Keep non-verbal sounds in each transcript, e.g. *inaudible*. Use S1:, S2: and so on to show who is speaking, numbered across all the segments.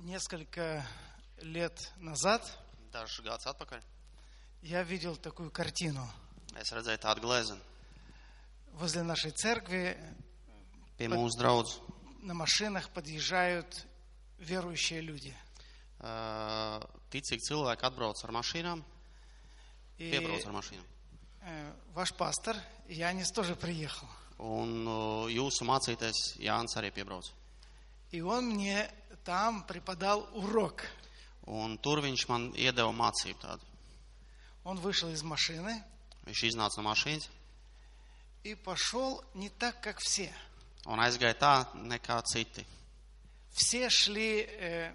S1: Несколько лет назад
S2: Dažus gadus atpakaļ
S1: я видел такую картину.
S2: es redzēju tādu glezniecību.
S1: Возле нашей церкви
S2: Pie mūsu draugs
S1: на машинах подъезжают верующие люди.
S2: ticīgi cilvēki atbrauc ar mašīnām,
S1: И
S2: piebrauc ar mašīnām.
S1: э, ваш пастор Янис тоже приехал.
S2: Un uh, jūsu mācīties Jānis arī piebrauc.
S1: И он мне там преподал урок.
S2: Un tur viņš man iedeva mācību tādu.
S1: Он вышел из машины
S2: Viņš iznāca no mašīnas
S1: и пошел не так, как все.
S2: un aizgāja tā nekā citi.
S1: Все шли э,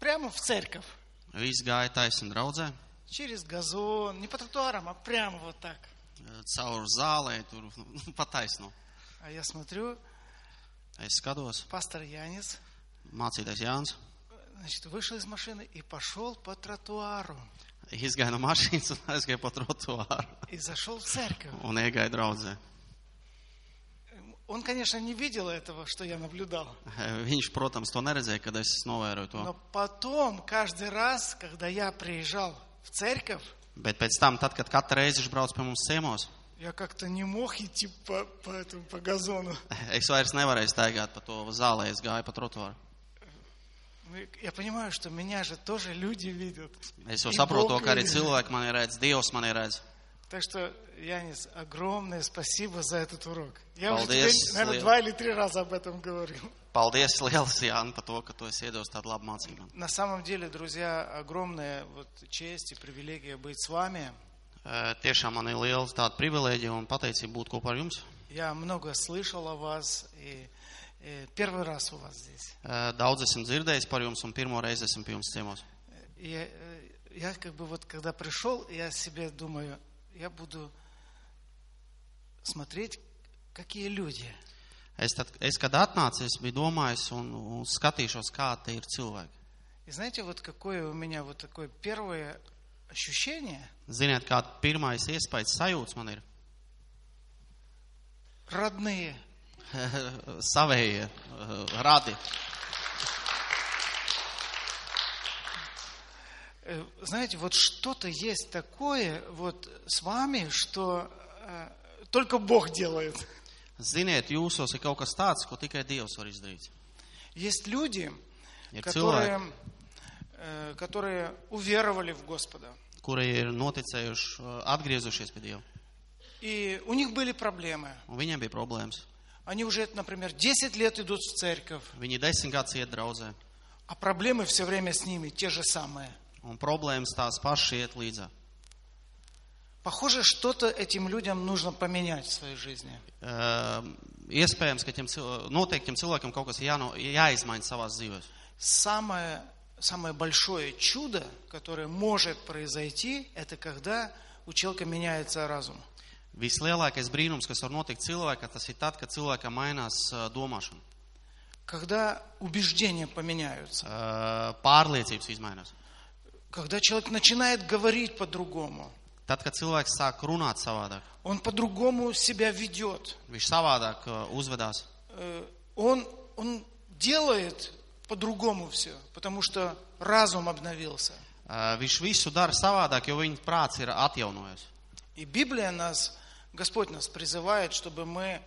S1: прямо в церковь,
S2: Viss gāja taisni draudzē,
S1: через газон, не по тротуарам, а прямо вот так.
S2: eh, caur zālē, tur *laughs* nu, pataisno.
S1: А я смотрю,
S2: Es skatos,
S1: пастор Янис
S2: mācīties Jānis. *laughs*
S1: значит, вышел из машины и пошел по тротуару.
S2: Izgāja no mašīnas un aizgāja pa trotuāru
S1: И зашел в церковь.
S2: un iegāja draudzē.
S1: Он, конечно, не видел этого, что я наблюдал.
S2: Э, Viņš, protams, to neredzēja, kad es novēroju to.
S1: Но потом, каждый раз, когда я приезжал в церковь,
S2: Bet pēc tam, tad, kad katru reizi viņš brauc pie mums ciemos, *laughs*
S1: я как-то не мог идти по, по этому, по газону.
S2: es vairs nevarēju staigāt pa to zālē, es gāju pa trotuāru.
S1: Ну, Я понимаю, что меня же тоже люди видят.
S2: Es jau
S1: И
S2: saprotu, to,
S1: Бог
S2: ka arī
S1: видит.
S2: cilvēki man ir redz, Dievs man ir redz.
S1: Так что, Янис, огромное спасибо за этот урок. Я уже тебе,
S2: Молодец,
S1: наверное,
S2: Лев.
S1: два или три раза об этом говорил.
S2: Paldies, *laughs* liels Jāni, par to, ka tu esi iedos tādu labu mācību. man.
S1: На самом деле, друзья, огромная вот честь и привилегия быть с вами.
S2: Eh, Tiešām man ir liela tāda privilēģija un pateicība būt kopā ar jums.
S1: Я много слышал о вас, и, э, первый раз у вас здесь.
S2: Eh, Daudz esmu dzirdējis par jums un pirmo reizi esmu pie jums ciemos.
S1: И, э, я как бы вот, когда пришел, я себе думаю, я буду смотреть, какие люди.
S2: Es, tad, es kad atnācu, es biju domājis un, un skatīšos, kā tie ir cilvēki.
S1: И знаете, вот какое у меня вот такое первое ощущение
S2: Ziniet, kāda pirmais iespējas sajūta man ir?
S1: родные.
S2: *laughs* Savējie eh, radi.
S1: Э, Знаете, вот что-то есть такое вот с вами, что э, только Бог делает.
S2: Ziniet, jūsos ir kaut kas tāds, ko tikai Dievs var izdarīt.
S1: Есть люди,
S2: Ir
S1: которые,
S2: cilvēki,
S1: э, которые уверовали в Господа.
S2: kuri ir noticējuši, eh, atgriezušies pie Dieva.
S1: И у них были проблемы.
S2: Un viņiem bija problēmas.
S1: Они уже, например, 10 лет идут в церковь,
S2: Viņi desmit gadus iet draudzē,
S1: а проблемы все время с ними те же самые.
S2: un problēmas tās pašas iet līdzā.
S1: Похоже, что-то этим людям нужно поменять в своей жизни.
S2: Eh, Iespējams, ka tiem cil- noteikti tiem cilvēkiem kaut kas jāno, jāizmaina savā dzīvē.
S1: Самое, самое большое чудо, которое может произойти, это когда у человека меняется разум.
S2: Vislielākais brīnums, kas var notikt cilvēkam, tas ir tad, kad cilvēkam mainās eh, domāšana,
S1: Когда убеждения поменяются.
S2: Eh, pārliecības izmainās.
S1: Когда человек начинает говорить по-другому.
S2: Tad, kad cilvēks sāk runāt savādāk,
S1: Он по-другому себя ведет.
S2: viņš savādāk eh, uzvedās.
S1: Э, Он, он делает по-другому все, потому что разум обновился.
S2: Eh, Viņš visu dara savādāk, jo viņa prāts ir atjaunojies.
S1: И Библия нас, Господь нас призывает, чтобы мы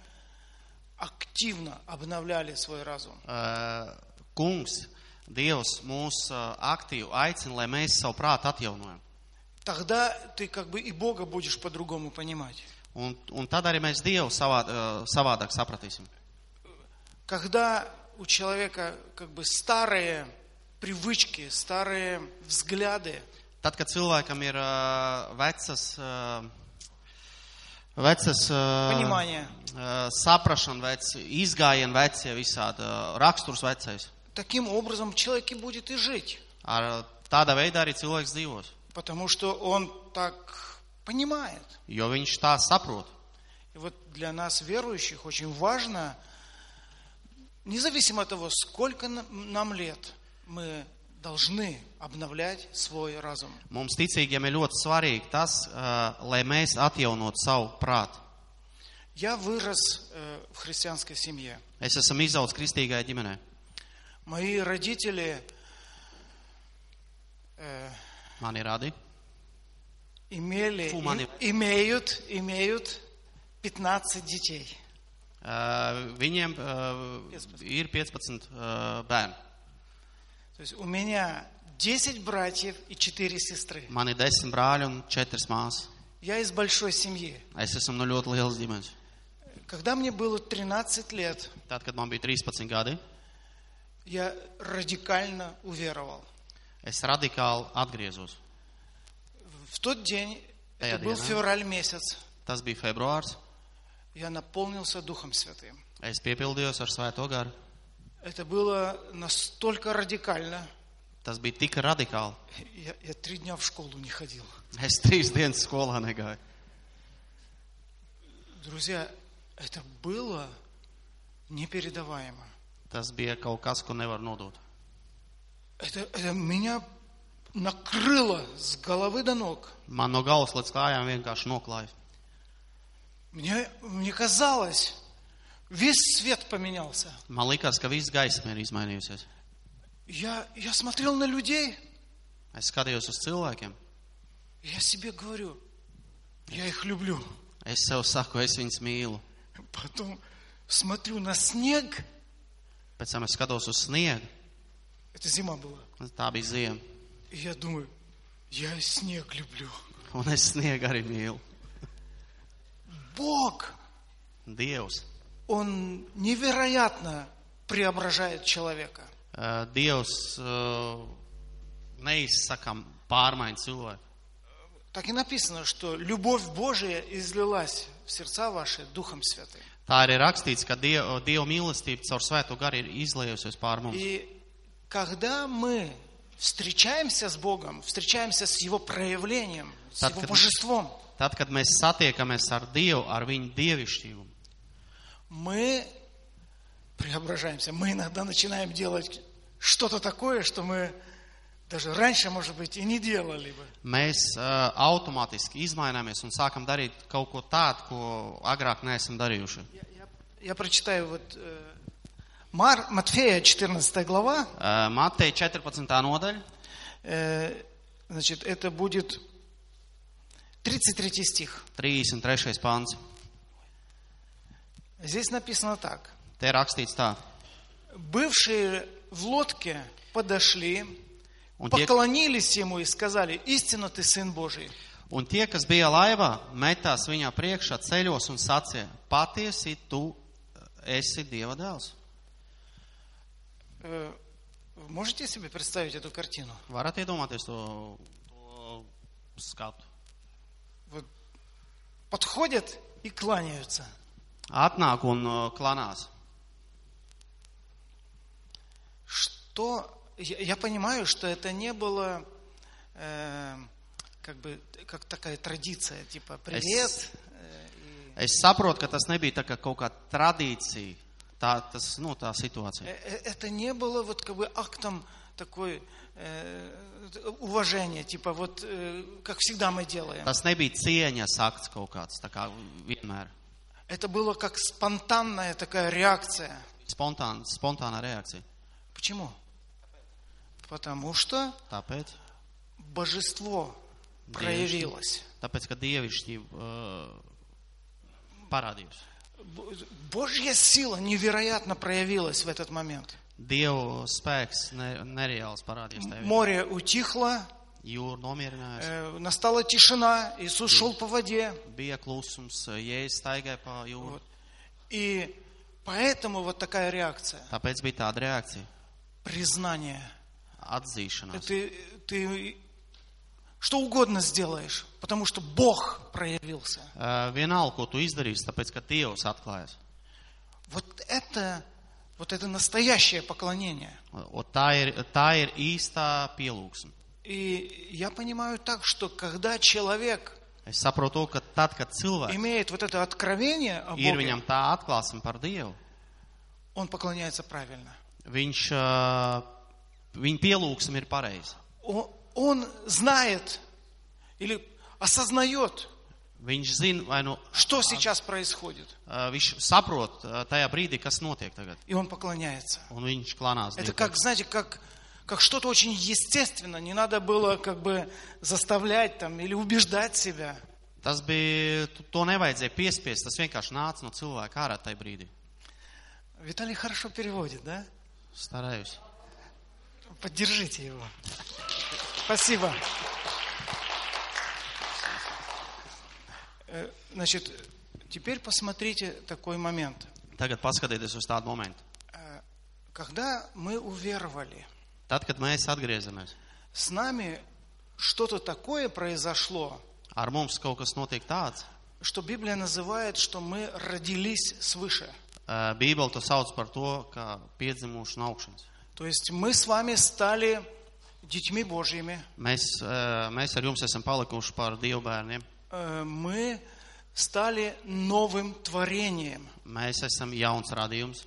S1: активно обновляли свой разум.
S2: Eh, Kungs, Dievs mūs eh, aktīvi aicina, lai mēs savu prātu atjaunojam.
S1: Тогда ты как бы и Бога будешь по-другому poнимать.
S2: Un, un tad arī mēs Dievu savā, eh, savādāk sapratīsim.
S1: Когда у человека как бы старые привычки, старые взгляды,
S2: Tad, kad cilvēkam ir eh, vecas, eh, vecas eh,
S1: понимание,
S2: eh, saprašana, vec, izgājiena vecie, visādi eh, raksturs vecais.
S1: таким образом человек и будет и жить,
S2: Ar tādā veidā arī cilvēks dzīvos,
S1: потому что он так понимает.
S2: jo viņš tā saprot.
S1: И вот для нас, верующих, очень важно, независимо от того, сколько на- нам лет, мы должны обновлять свой разум.
S2: Mums ticīgiem ir ļoti svarīgi tas, eh, lai mēs atjaunotu savu prātu.
S1: Я вырос э, в христианской семье.
S2: Es esmu izaugs kristīgajā ģimenē.
S1: Мои родители э,
S2: mani radi,
S1: имели,
S2: Фу, мани.
S1: и- имеют, имеют 15 детей.
S2: eh, viņiem eh, ir 15 eh, bērni.
S1: То есть у меня 10 братьев и 4 сестры.
S2: Man ir 10 brāļi un 4 māsas.
S1: Я из большой семьи.
S2: Es esmu no ļoti lielas ģimenes.
S1: Когда мне было 13 лет,
S2: Tad, kad man bija 13 gadi,
S1: я радикально уверовал.
S2: es radikāli atgriezos.
S1: В тот день,
S2: Да,
S1: это
S2: я
S1: был
S2: знаю.
S1: февраль месяц,
S2: Tas bija februārs.
S1: я наполнился Духом Святым.
S2: Es piepildījos ar Svēto garu.
S1: Это было настолько радикально,
S2: Tas bija tik radikāli.
S1: я, я три дня в школу не ходил.
S2: Es trīs dienas skolā negāju.
S1: Друзья, это было непередаваемо.
S2: Tas bija kaut kas, ko nevar nodot.
S1: Это, это меня накрыло с головы до ног.
S2: Man no galvas līdz kājām vienkārši noklāja.
S1: Мне, мне казалось, весь свет поменялся.
S2: Man liekas, ka viss gaisma ir izmainījusies.
S1: Я, я смотрел на людей,
S2: Es skatījos uz cilvēkiem.
S1: и я себе говорю, я их люблю.
S2: Es sev saku, es viņus mīlu.
S1: Потом смотрю на снег,
S2: Pēc tam es skatos uz sniegu.
S1: это зима была,
S2: Tā bija ziema.
S1: и я думаю, я и снег люблю.
S2: Un es sniegu arī mīlu.
S1: Бог,
S2: Dievs.
S1: Он невероятно преображает человека.
S2: Uh, Dievs uh, neizsakām pārmaiņu cilvēku.
S1: Так и написано, что любовь Божия излилась в сердца ваши Духом Святым.
S2: Tā arī rakstīts, ka Dieva, Dieva mīlestība caur svēto garu ir izlējusies pār mums.
S1: И когда мы встречаемся с Богом, встречаемся с Его проявлением, с
S2: Так,
S1: Его
S2: это-
S1: божеством,
S2: Tad, kad mēs satiekamies ar Dievu, ar viņa dievišķību,
S1: мы преображаемся. Мы иногда начинаем делать что-то такое, что мы даже раньше, может быть, и не делали бы.
S2: mēs uh, automātiski izmaināmies un sākam darīt kaut ko tādu, ko agrāk neesam darījuši.
S1: Я, я- я прочитаю вот э, Мар, Матфея, 14 глава.
S2: Uh, Mateja 14. nodaļa,
S1: Э, значит, это будет 33 стих.
S2: 33. pāns.
S1: Здесь написано так.
S2: Te rakstīts tā.
S1: Бывшие в лодке подошли,
S2: Un tie,
S1: поклонились ему и сказали, истинно ты Сын Божий.
S2: un tie, kas bija laivā, metās viņā priekšā ceļos un sacīja: Patiesi, tu esi Dieva dēls.
S1: Э, вы Можете себе представить эту картину?
S2: Varat iedomāties to, to skatu?
S1: Вот подходят и кланяются.
S2: Atnāk un uh, klanās.
S1: Что? Я, я понимаю, что это не было э, как бы как такая традиция, типа привет. э, и-
S2: Es saprotu, ka tas nebija tā kā kaut kā tradīcija, tā, tas, nu, tā
S1: Э,
S2: situācija.
S1: э, Это не было вот как бы актом такой э, уважения, типа вот э, как всегда мы делаем.
S2: Tas nebija cieņas akts kaut kāds, tā kā vienmēr.
S1: Это было как спонтанная такая реакция.
S2: Spontāna, spontāna reakcija.
S1: Почему? Потому что
S2: Tāpēc,
S1: божество проявилось.
S2: tāpēc ka dievišķība uh, parādījās.
S1: Б- Божья сила невероятно проявилась в этот момент.
S2: Dievu spēks ne, nereāls parādījās tev.
S1: Море утихло,
S2: Jūra nomierinājās,
S1: э, настала тишина, Иисус шел по воде.
S2: bija klusums, uh, jēzus staigāja pa jūru.
S1: Вот. И поэтому вот такая реакция,
S2: Tāpēc bija tāda reakcija.
S1: признание.
S2: atzīšanās.
S1: Ты, ты что угodно сделаешь, потому что Бог проявился.
S2: Uh, vienalga, ko tu izdarīsi, tāpēc, ka Dievs atklājas.
S1: Вот это, вот это настоящее поклонение.
S2: Un tā ir, tā ir īstā pielūgsme.
S1: И я понимаю так, что когда человек
S2: Es saprotu, to, ka tad, kad cilvēks
S1: имеет вот это откровение о
S2: ir
S1: Боге,
S2: viņam tā atklāsme par Dievu,
S1: он поклоняется правильно.
S2: viņš, uh, viņa pielūgsme ir pareiza.
S1: О- Он знает или осознает,
S2: Viņš zina, vai nu
S1: что сейчас происходит,
S2: uh, viņš saprot uh, tajā brīdī, kas notiek tagad,
S1: и он поклоняется.
S2: un viņš klanās.
S1: Это
S2: Dievam.
S1: как, знаете, как как что-то очень естественно. Не надо было как бы заставлять там или убеждать себя.
S2: Tas bija, tu- to nevajadzēja piespiest, tas vienkārši nāca no cilvēka ārā tajā brīdī.
S1: Виталий хорошо переводит, да?
S2: Стараюсь.
S1: Поддержите его. Спасибо. Э, Значит, теперь посмотрите такой момент.
S2: Tagad paskatieties uz tādu momentu.
S1: Э, Когда мы уверовали,
S2: Tad, kad mēs atgriezamies,
S1: с нами что-то такое произошло,
S2: ar mums kaut kas notiek tāds,
S1: что Библия называет, что мы родились свыше.
S2: ā, Bībele to sauc par to, kā piedzimuši no augšanas.
S1: То есть мы с вами стали детьми Божьими.
S2: Mēs, ā, mēs ar jums esam palikuši par dievu bērniem.
S1: Э, Мы стали новым творением.
S2: Mēs esam jauns radījums.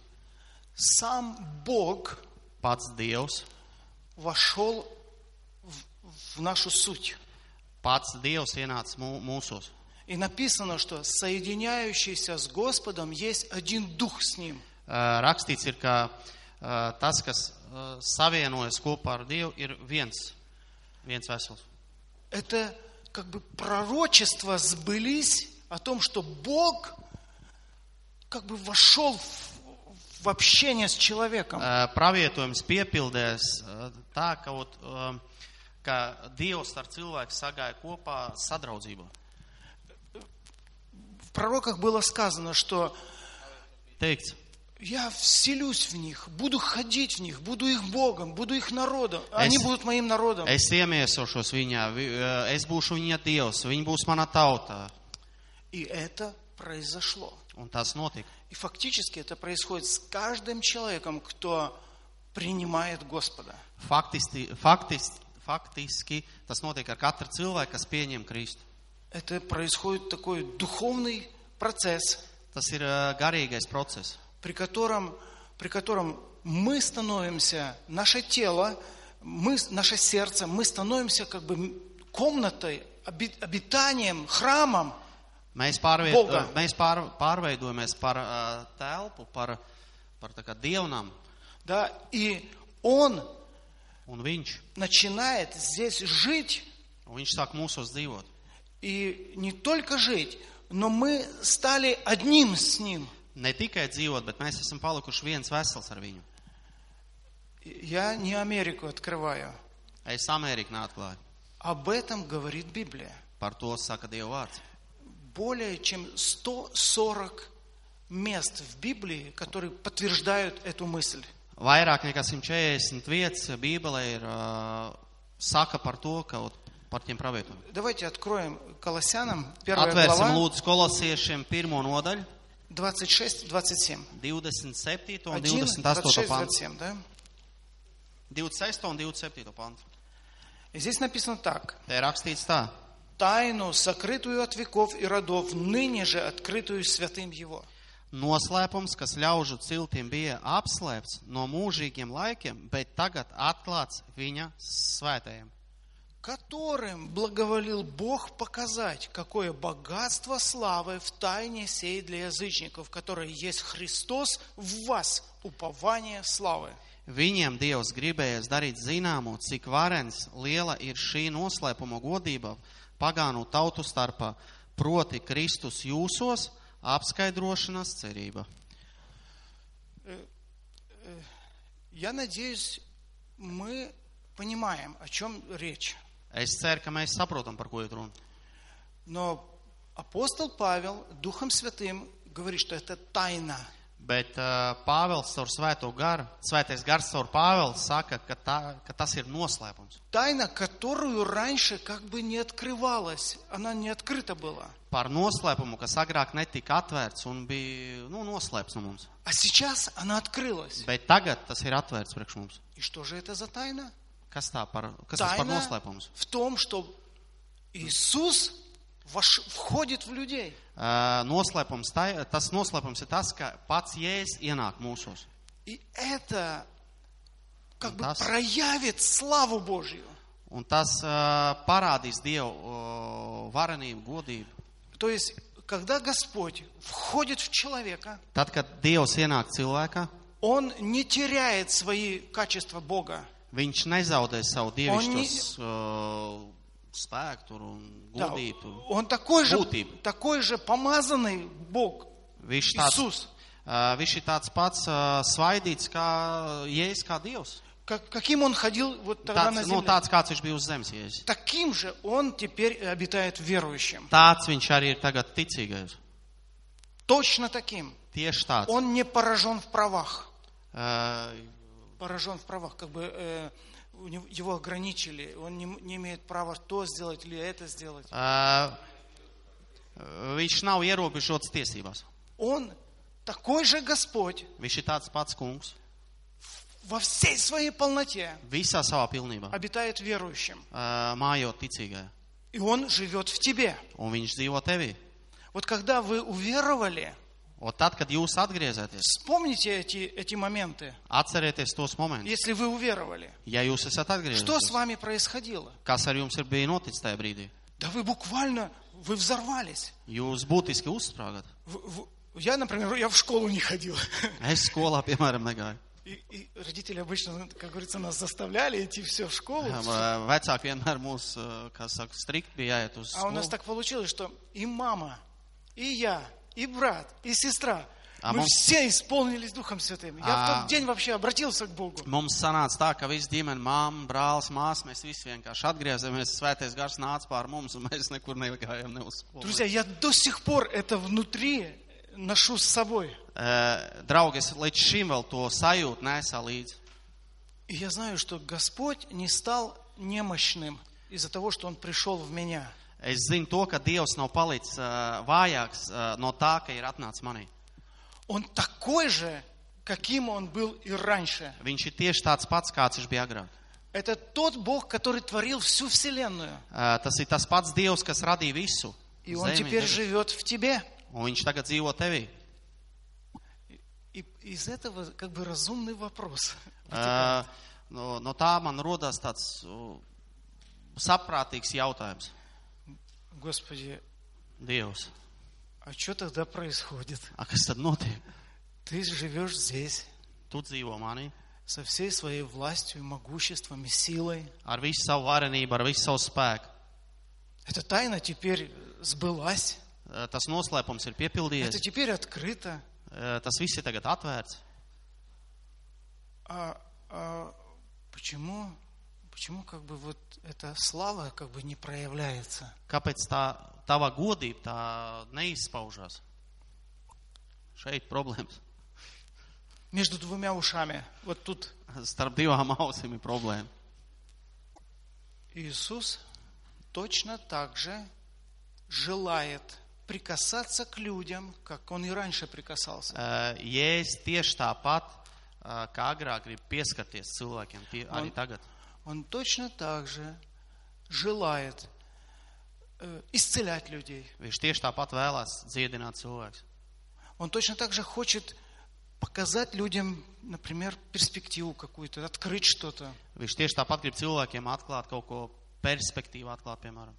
S1: Сам Бог
S2: Pats Dievs,
S1: вошел в, в нашу суть.
S2: pats Dievs ienāca mū- mūsos.
S1: И написано, что соединяющийся с Господом есть один дух с Ним.
S2: Ā, Eh, Rakstīts ir, ka ā, tas, kas ā, savienojas kopā ar Dievu, ir viens, viens vesels.
S1: Это как бы пророчества сбылись о том, что Бог как бы вошел в, в общение с человеком.
S2: Ā, Eh, Pravietojums piepildēs ā, tā, ka, ot, ā, ka Dievs ar cilvēku sagāja kopā sadraudzībā.
S1: В пророках было сказано, что
S2: Teikts,
S1: я вселюсь в них, буду ходить в них, буду их Богом, буду их народом. а Они
S2: Эс-
S1: будут моим народом.
S2: es iemiesošos viņā, vi- ā, es būšu viņa Dievs, viņa būs mana tauta.
S1: И это произошло.
S2: Un tas notika.
S1: И фактически это происходит с каждым человеком, кто принимает Господа.
S2: Faktiski, faktiski, faktiski tas notiek ar katru cilvēku, kas pieņem Kristu.
S1: Это происходит такой духовный процесс,
S2: Tas ir ā, garīgais process,
S1: при котором, при котором мы становимся, наше тело, мы, наше сердце, мы становимся как бы м- комнатой, оби- обитанием, храмом.
S2: Mēs, pārviet,
S1: Volgā.
S2: ā, mēs pār, pārveidojamies par ā, telpu, par, par tā kā dievnam,
S1: Да? И Он
S2: un viņš,
S1: начинает здесь жить,
S2: un viņš sāk mūsos dzīvot.
S1: и не только жить, но мы стали одним с Ним.
S2: Ne tikai dzīvot, bet mēs esam palikuši viens vesels ar viņu.
S1: Я не Америку открываю.
S2: Es Ameriku neatklāju.
S1: Об этом говорит Библия.
S2: Par to saka Dieva vārds.
S1: Более чем 140 мест в Библии, которые подтверждают эту мысль.
S2: Vairāk nekā 140 vietas Bībelē ir ā, saka par to, ka ot, par tiem pravietojumiem.
S1: Давайте откроем Колоссянам, 1
S2: Atvērsim
S1: глава,
S2: lūdzu kolosiešiem pirmo nodaļu,
S1: 26-27.
S2: 27. un
S1: 1, 26,
S2: 28. pantu.
S1: 27, да?
S2: 26. un 27. pantu.
S1: И здесь написано так.
S2: Te ir rakstīts tā.
S1: «Тайну, сокрытую от веков и родов, ныне же открытую святым Его».
S2: Noslēpums, kas ļaužu ciltīm bija apslēpts no mūžīgiem laikiem, bet tagad atklāts viņa svētējiem,
S1: которым благоволил Бог показать, какое богатство славы в тайне сей для язычников, которое есть Христос в вас, упование славы.
S2: Viņiem Dievs gribējas darīt zināmu, cik varens liela ir šī noslēpuma godība pagānu tautu starpā, proti Kristus jūsos apskaidrošanas cerība.
S1: Я надеюсь, мы понимаем, о чем речь.
S2: Es ceru, ka mēs saprotam, par ko ir runa.
S1: Но апостол Павел Духом Святым говорит, что это тайна.
S2: Bet uh, Pāvils caur svēto garu, svētais gars caur Pāvelu saka, ka, tā, ka tas ir noslēpums.
S1: Тайна, которую раньше как бы не открывалась, она не открыта была.
S2: Par noslēpumu, kas agrāk netika atvērts un bija nu, noslēpts no mums.
S1: А сейчас она открылась.
S2: Bet tagad tas ir atvērts priekš mums.
S1: И что же это за тайна?
S2: Kas, tā par, kas tas par
S1: Тайна
S2: noslēpums?
S1: в том, что Иисус вош- входит в людей.
S2: Uh, noslēpums tā, tas noslēpums ir tas, ka pats jēzus ienāk mūsos.
S1: И это как бы
S2: Фантастика.
S1: проявит славу Божью.
S2: Un tas uh, parādīs Dievu uh, varenību, godību.
S1: То есть, когда Господь входит в человека,
S2: Tad, kad Dievs ienāk cilvēkā,
S1: Он не теряет свои качества Бога.
S2: Viņš nezaudē savu dievišķo
S1: Oni-
S2: uh, spēku tur un
S1: Да,
S2: gudrību.
S1: он такой же,
S2: Гудип.
S1: такой же помазанный Бог,
S2: Viņš, tāds,
S1: Иисус,
S2: uh, viņš ir tāds pats uh, svaidīts kā jēzus, kā dievs.
S1: как- каким он ходил вот тогда на
S2: Tāds, nu,
S1: земле.
S2: tāds kāds viņš bija uz zemes jēzus.
S1: Таким же он теперь обитает верующим.
S2: Tāds viņš arī ir tagad ticīgais.
S1: Точно таким.
S2: Tieši tāds.
S1: Он не поражен в правах.
S2: Uh,
S1: Поражен в правах, как бы э, у него- его ограничили. Он не, м- не имеет права то сделать или это сделать.
S2: uh, viņš nav ierobežots tiesībās.
S1: Он такой же Господь
S2: Viņš ir tāds pats kungs.
S1: во всей своей полноте
S2: Visā savā pilnībā.
S1: обитает верующим.
S2: Uh, mājot ticīgajā.
S1: И он живет в тебе.
S2: Un viņš dzīvo tevī.
S1: Вот когда вы уверовали,
S2: Un tad, kad jūs atgriezieties,
S1: вспомните эти, эти моменты.
S2: atcerieties tos momentus,
S1: Если вы уверовали,
S2: ja jūs esat
S1: что с
S2: atgriezies.
S1: вами происходило?
S2: Kas ar jums ir bijis noticis tajā brīdī?
S1: Да вы буквально, вы взорвались.
S2: Jūs būtiski uzsprāgat.
S1: В- в- Я, например, я в школу не ходил. *laughs*
S2: Es skolā, piemēram, negāju.
S1: И, и родители обычно, ну, как говорится, нас заставляли идти все в школу.
S2: Jā, mā, Vecāki vienmēr mūs, ā, kā saka, strikt bija jāiet uz
S1: А у нас
S2: skolu.
S1: так получилось, что и мама, и я, и брат, и сестра,
S2: А
S1: мы
S2: мам-
S1: все исполнились Духом Святым. Я в
S2: А.
S1: тот день вообще обратился к Богу.
S2: Mums sanāca tā, ka visi ģimene, mamma, brālis, māsas, mēs visi vienkārši atgriezāmies, svētais gars nāca pār mums, un mēs nekur negājām ne uz skolu.
S1: Друзья, я до сих пор это внутри ношу с собой.
S2: Ā, Draugi, es līdz šim vēl to sajūtu nesā līdzi.
S1: И я знаю, что Господь не стал немощным из-за того, что Он пришел в меня.
S2: Es zinu to, ka Dievs nav palicis ā, vājāks ā, no tā, ka ir atnācis manī.
S1: Он такой же, каким Он был и раньше.
S2: Viņš ir tieši tāds pats, kāds viņš bija agrāk.
S1: Это тот Бог, который творил всю Вселенную.
S2: Ā, Ah, Tas ir tas pats Dievs, kas radīja visu.
S1: И Он
S2: Zemi,
S1: теперь
S2: debesis.
S1: живет в тебе.
S2: Un viņš tagad dzīvo tevī.
S1: И из этого как бы разумный вопрос.
S2: Ā, Ah, No, no tā man rodas tāds u, saprātīgs jautājums.
S1: Господи,
S2: Dievs,
S1: а что тогда происходит?
S2: a, kas tad notiek?
S1: Ты живешь здесь
S2: Tu dzīvo manī,
S1: со всей своей властью, и могуществом и силой.
S2: ar visu savu varenību, ar visu savu spēku.
S1: Эта тайна теперь сбылась.
S2: Ā, Ah, Tas noslēpums ir
S1: Это
S2: piepildījies,
S1: теперь открыто.
S2: Ā, tas viss ir tagad atvērts.
S1: А, а почему, почему как бы вот эта слава как бы не проявляется?
S2: Kāpēc tā tava godība tā neizpaužās? Šeit problēmas. *laughs*
S1: Между двумя ушами. Вот тут
S2: Starp divām ausīm ir problēma.
S1: Иисус точно так же желает прикасаться к людям, как он и раньше прикасался.
S2: Ā, Jēzus Eh, tieši tāpat, ā, kā agrāk, grib pieskarties cilvēkiem, tie arī
S1: Un-
S2: tagad.
S1: Он точно так же желает э, исцелять людей.
S2: Viņš tieši tāpat vēlās dziedināt cilvēkus.
S1: Он точно так же хочет показать людям, например, перспективу какую-то, открыть что-то.
S2: Viņš tieši tāpat grib cilvēkiem atklāt kaut ko perspektīvu, atklāt, piemēram.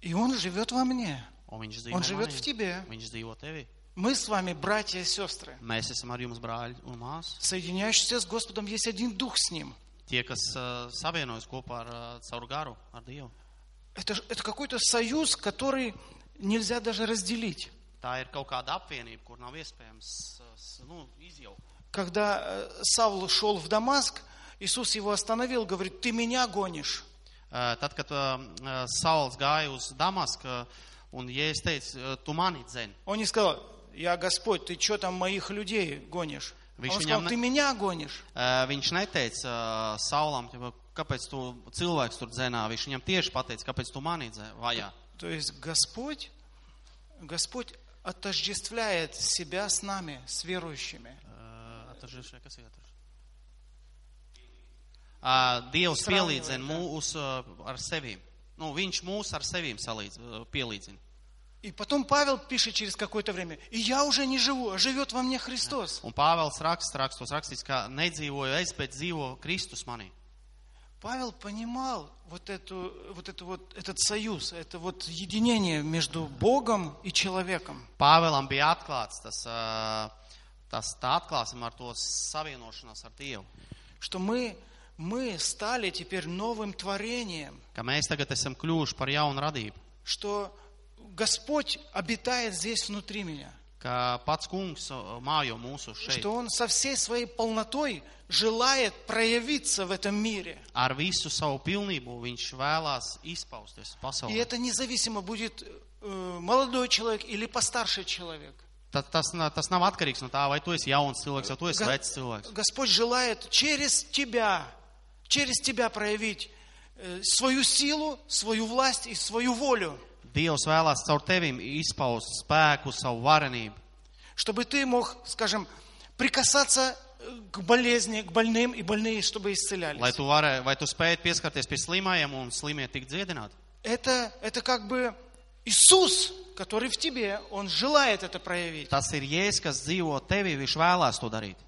S1: И он живет во мне.
S2: Un viņš dzīvo,
S1: Он живет
S2: manī.
S1: в тебе.
S2: viņš dzīvo tevī.
S1: Мы с вами, братья и сестры.
S2: Mēs esam ar jums brāļi un māsas.
S1: Соединяющиеся с Господом есть один дух с Ним.
S2: Tie, kas ā, savienojas kopā ar ā, caur garu, ar Dievu.
S1: Это, ж- это какой-то союз, который нельзя даже разделить.
S2: Tā ir kaut kāda apvienība, kur nav iespējams s- nu, izjaukt.
S1: Когда э, Савл шел в Дамаск, Иисус его остановил, говорит, ты меня гонишь.
S2: Ā, Eh, Tad, kad ā, Sauls gāja uz Damasku, ā, un Jēzus teica, ā, eh, tu mani dzeni.
S1: Он не сказал, я Господь, ты что там моих людей гонишь? Он
S2: Вы еще не
S1: сказал,
S2: обна-
S1: ты меня гонишь.
S2: Ā, Viņš neteica ā, Saulam, ka, kāpēc tu cilvēks tur dzenā. Viņš viņam tieši pateica, kāpēc tu mani dzeni vajā.
S1: То есть Господь, Господь отождествляет себя с нами, с верующими.
S2: Ā, atveržu, kas ir atveržu? Ā, Dievs
S1: Sravnīvai,
S2: pielīdzina
S1: jā.
S2: mūs ā, ar sevīm. Nu, viņš mūs ar sevīm salīdz, ā, pielīdzina.
S1: И потом Павел пишет через какое-то время, и я уже не живу, а живет во мне Христос.
S2: Un Pāvils raksts, rakstos rakstīts, ka nedzīvoju es, bet dzīvo Kristus manī.
S1: Павел понимал вот, эту, вот, эту вот этот союз, это вот единение между Богом и человеком.
S2: Pāvēlam bija atklāts tas, ā, tas tā atklāsim ar to savienošanās ar Dievu.
S1: Что мы мы стали теперь новым творением,
S2: ka mēs tagad esam kļuvuši par jaunu radību,
S1: что Господь обитает здесь внутри меня,
S2: ka pats kungs uh, mājo mūsu šeit.
S1: что Он со всей своей полнотой желает проявиться в этом мире.
S2: Ar visu savu pilnību viņš vēlās izpausties
S1: И
S2: pasaulē.
S1: это независимо будет э, молодой человек или постарше человек.
S2: Tas, tas, na- tas nav atkarīgs no tā, vai tu esi jauns cilvēks, vai tu esi
S1: Ga-
S2: vecs cilvēks.
S1: Господь желает через тебя, через тебя проявить э, свою силу, свою власть и свою волю,
S2: Dievs vēlās caur tevim izpaust spēku, savu varenību,
S1: чтобы ты мог, скажем, прикасаться э, к болезни, к больным, и больные, чтобы исцелялись.
S2: lai tu, varē, vai tu spētu pieskarties pie slimajiem un slimie tik dziedināti.
S1: Это, это как бы Иисус, который в тебе, Он желает это проявить.
S2: Tas ir jēzus, kas dzīvo tevī, viņš vēlās to darīt.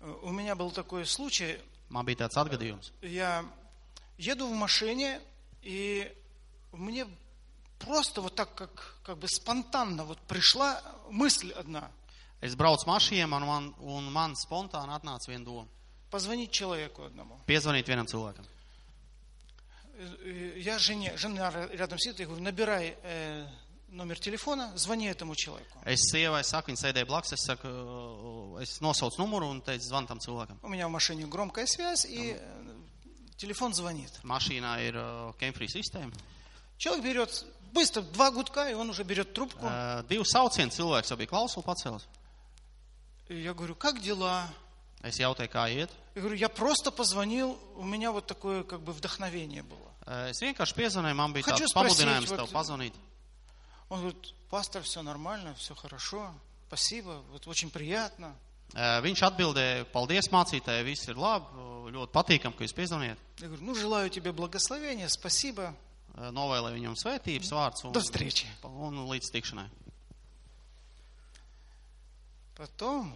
S1: Э, У меня был такой случай,
S2: Man bija tāds atgadījums.
S1: я еду в машине, и мне просто вот так, как, как бы спонтанно вот пришла мысль одна.
S2: Es braucu mašīnā, un man, un man spontāni atnāca viena doma
S1: Позвонить человеку одному.
S2: - piezvanīt vienam cilvēkam.
S1: Э, Я жене, жена ра- рядом сидит, я говорю, набирай э, номер телефона, звони этому человеку.
S2: Es sievai saku, viņa sēdēja blakus, es, saku, "Uh, es nosaucu numuru un teicu, zvanu tam cilvēkam.
S1: У меня в машине громкая связь, и э, телефон звонит.
S2: Mašīnā ir uh, Kempfrija sistēma.
S1: Человек берет быстро два гудка, и он уже берет трубку.
S2: Uh, Divu saucienu cilvēks jau bija klausuli pacēlis.
S1: И я говорю, как дела?
S2: Es jautāju, kā iet.
S1: Я говорю, я просто позвонил, у меня вот такое как бы вдохновение было.
S2: Uh, Es vienkārši piezvanīju, man bija
S1: Хочу
S2: tāds
S1: спросить,
S2: pamudinājums
S1: вот-
S2: tev pazvanīt.
S1: Он говорит, пастор, все нормально, все хорошо, спасибо, вот очень приятно.
S2: Uh, Viņš atbildēja, paldies mācītājai, viss ir labi, uh, ļoti patīkam, ka jūs piezvanījat.
S1: Я говорю, ну желаю тебе благословения, спасибо,
S2: Uh, Novēlēju viņam svētības vārds un,
S1: до встречи.
S2: un līdz tikšanai.
S1: Потом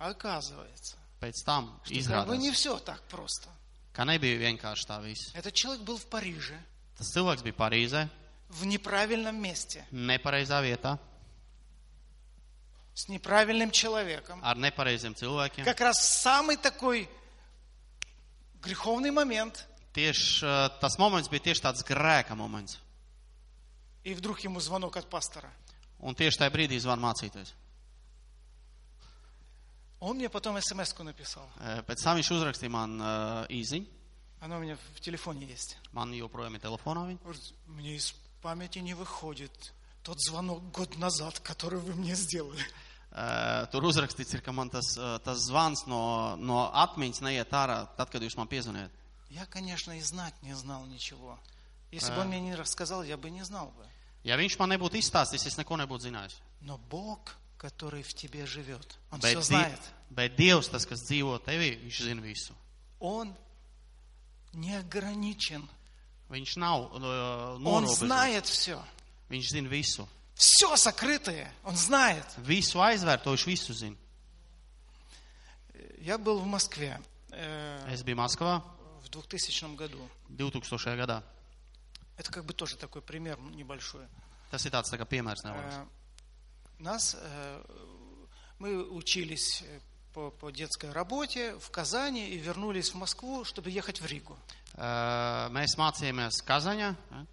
S1: оказывается,
S2: Pēc tam
S1: что как бы не
S2: izrādās,
S1: все так просто.
S2: ka nebija vienkārši tā viss.
S1: Этот человек был в Париже,
S2: Tas cilvēks bija Parīzē,
S1: в неправильном месте,
S2: nepareizā vietā,
S1: с неправильным человеком.
S2: ar nepareiziem cilvēkiem.
S1: Как раз самый такой греховный момент –
S2: Tieši eh, tas moments bija tieši tāds grēka moments.
S1: И вдруг ему звонок от пастора.
S2: Un tieši tajā brīdī zvan mācīties.
S1: Он мне потом смс-ку написал.
S2: Eh, Pēc tam viņš uzrakstīja man eh, īziņu,
S1: Она у меня в телефоне есть.
S2: man joprojām ir telefonā viņa.
S1: Говорит, мне из памяти не выходит тот звонок год назад, который вы мне сделали.
S2: Eh, Tur uzrakstīts ir, ka man tas, eh, tas zvans no, no atmiņas neiet ārā, tad, kad jūs man piezvaniet.
S1: Я, конечно, и знать не знал ничего. Если бы он мне не рассказал, я бы не знал бы.
S2: Ja viņš man nebūtu izstāstījis, es neko nebūtu zinājis.
S1: Но Бог, который в тебе живет, Он
S2: Bet,
S1: все
S2: die,
S1: знает.
S2: bet Dievs, tas, kas dzīvo tevī, viņš zina visu.
S1: Он не ограничен.
S2: Viņš nav eh,
S1: Он
S2: norobežots.
S1: знает все.
S2: Viņš zina visu.
S1: Все сокрытое Он знает.
S2: Visu aizvērto, viņš visu zina.
S1: Я был в Москве э,
S2: Es biju Maskavā
S1: в 2000 году.
S2: 2000. gadā.
S1: Это как бы тоже такой пример небольшой.
S2: Tas ir tāds tā kā piemērs. nevaras.
S1: Э, Нас, э, мы учились э, по, по детской работе в Казани и вернулись в Москву, чтобы ехать в Ригу.
S2: Ē, Eh, Mēs mācījāmies Kazaņā. ē.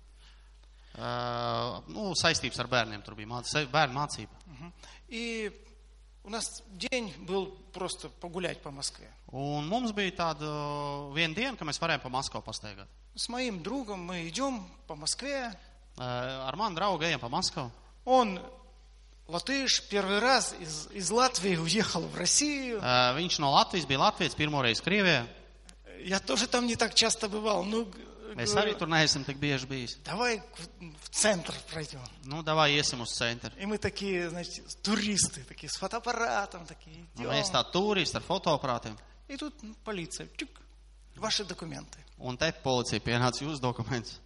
S2: Ē, Nu, saistības ar bērniem tur bija māc- se- bērnu mācība.
S1: Мгм. И у нас день был просто погулять по Москве.
S2: Un mums bija tāda eh, viena diena, ka mēs varējām pa Maskavu pastaigāt.
S1: С моим другом мы идем по Москве.
S2: Ē, Eh, Ar manu draugu ejam pa Maskavu.
S1: Он латыш, первый раз из, из Латвии уехал в Россию.
S2: Ē, Eh, Viņš no Latvijas bija Latvijas, pirmoreiz Krievijā.
S1: Я тоже там не так часто бывал. Ну, г-
S2: Mēs
S1: говорю,
S2: arī tur neesam tik bieži bijis.
S1: давай к- в центр пройдем.
S2: Nu, davai iesim uz centru.
S1: И мы такие, значит, туристы, такие с фотоаппаратом, такие
S2: Un Nu, Mēs
S1: идем.
S2: tā turisti ar fotoaparātiem.
S1: И тут ну, полиция, чик, ваши документы.
S2: Un te policija pienāca jūsu dokumentus.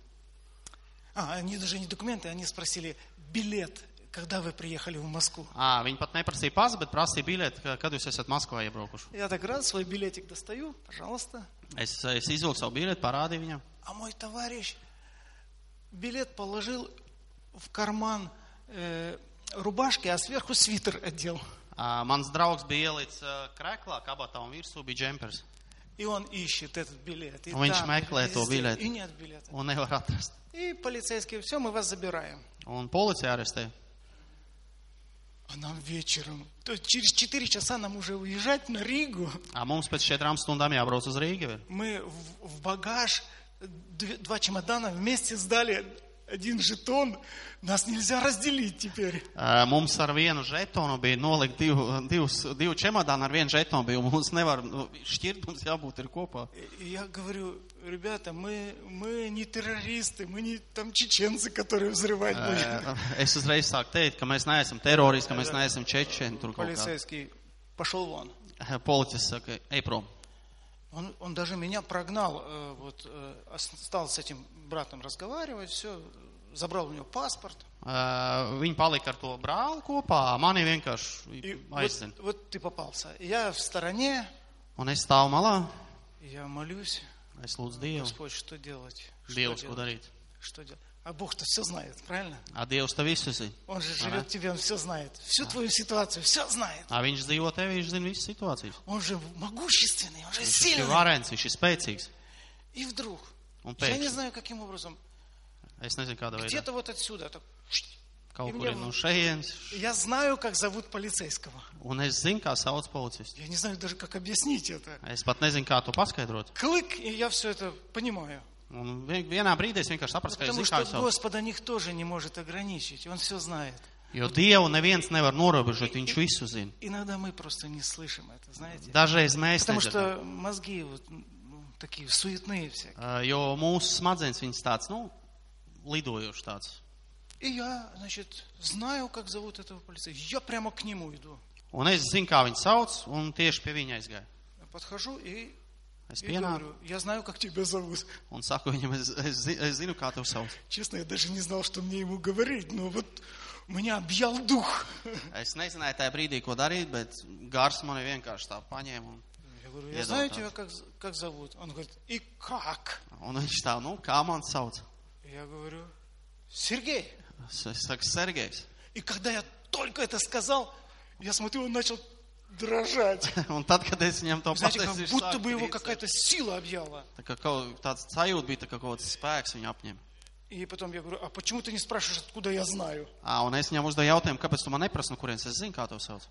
S1: А, они даже не документы, они спросили билет, когда вы приехали в Москву.
S2: À, viņi pat neprasīja pasu, bet prasīja bileti, ka- kad jūs esat Maskavā iebraukuši.
S1: Я так раз свой билетик достаю, пожалуйста.
S2: Es, es izvilku savu bileti, parādīju viņam.
S1: А мой товарищ билет положил в карман э, рубашки, а сверху свитер одел.
S2: À, mans draugs bija ielicis ā, krēklā, kabatā un virsū bija džempers.
S1: И он ищет этот билет. И,
S2: Un viņš
S1: там,
S2: meklē
S1: и
S2: to
S1: здесь,
S2: biļeti.
S1: и нет билета.
S2: un nevar atrast.
S1: И полицейские, все, мы вас забираем.
S2: Un policija arestē.
S1: А нам вечером, то есть через 4 часа нам уже уезжать на Ригу.
S2: Ā, Mums pēc četrām stundām jābrauc uz Rīgā.
S1: Мы в, в багаж две- два чемодана вместе сдали один жетон. Нас нельзя разделить теперь.
S2: Mums ar vienu žetonu bija nolikt divu, divus, divu čemodānu, ar vienu žetonu bija. un Mums nevar nu, šķirt, mums jābūt ir kopā.
S1: И Я говорю, ребята, мы, мы не террористы, мы не там чеченцы, которые взрывать
S2: Э,
S1: будут.
S2: Ā, Es uzreiz sāku teikt, ka mēs neesam teroristi, ka mēs neesam čečeni. Tur kaut kā.
S1: Полицейский пошел вон.
S2: Policists saka, ej prom.
S1: Он, он даже меня прогнал, э, вот, э, ос- стал с этим братом разговаривать, все, забрал у него паспорт.
S2: Ā, Eh, Viņi palika ar to brāli kopā, mani
S1: И
S2: vienkārši
S1: вот,
S2: aizdzina.
S1: вот ты попался. Я в стороне,
S2: Un es stāvu malā,
S1: я молюсь,
S2: es lūdzu Dievu,
S1: Господь, что делать? Что
S2: Dievs, ko
S1: делать?
S2: darīt.
S1: Что делать? А Бог-то все знает, правильно?
S2: Ā, Dievs tev visu zina.
S1: Он же живет в тебе, он все знает. Всю твою ситуацию, все знает.
S2: Ā, Viņš dzīvo tev, viņš zina visas situācijas.
S1: Он же могущественный, он же
S2: Viņš ir
S1: сильный.
S2: varens, viņš ir spēcīgs.
S1: И вдруг,
S2: Un
S1: я не
S2: pēkšņi,
S1: знаю каким образом,
S2: es nezinu, kāda veidā.
S1: где-то вот отсюда, так,
S2: Kaut
S1: Viņam
S2: kur ir
S1: jau-
S2: no šejienes,
S1: я знаю, как зовут полицейского.
S2: un es zinu, kā sauc policistu.
S1: Я не знаю даже, как объяснить это.
S2: Es pat nezinu, kā to paskaidrot.
S1: Клык, и я все это понимаю.
S2: Un vien- vienā brīdī es vienkārši sapratu, ka es
S1: Потому
S2: zinu, kā
S1: что
S2: viņš sauc.
S1: Господа никто же не может ограничить, Он все знает.
S2: Jo Dievu neviens nevar norobežot, viņš visu zina.
S1: Иногда мы просто не слышим это, знаете.
S2: Dažreiz mēs
S1: Потому
S2: nedzirdam.
S1: что мозги вот ну, такие суетные все.
S2: Ā, Jo mūsu smadzenes viņas tāds, nu, lidojošs tāds.
S1: И я, значит, знаю, как зовут этого полицейского. Я прямо к нему иду.
S2: Un es zinu, kā viņu sauc, un tieši pie viņa aizgāju.
S1: Я подхожу и,
S2: Es
S1: и
S2: pienāku
S1: говорю, я знаю, как тебя зовут.
S2: un saku viņam, es, es, zi- es zinu, kā tev sauc.
S1: Честно, я даже не знал, что мне ему говорить, но вот меня объял дух.
S2: Es nezināju tajā brīdī, ko darīt, bet gars mani vienkārši tā paņēma. Un,
S1: Я говорю, я
S2: Я
S1: знаю
S2: должна.
S1: тебя, как, з- как зовут. Он говорит, и как?
S2: un viņš tā, nu, kā man sauc?
S1: Я говорю, Сергей.
S2: Es, es saku, Sergejs. *laughs*
S1: И когда я только это сказал, я смотрю, он начал дрожать.
S2: Un tad, kad es viņam to
S1: Знаете,
S2: pateicu,
S1: как
S2: viņš
S1: будто
S2: sāk
S1: бы его
S2: trīcēt.
S1: какая-то сила объяла.
S2: Tā kā kaut tāds sajūta bija, tā kā kaut kāds spēks viņu apņem.
S1: И потом я говорю, а почему ты не спрашиваешь, откуда я знаю?
S2: À, un es viņam uzdevu jautājumu, kāpēc tu man neprasi, no kurienes es zinu, kā tev sauc.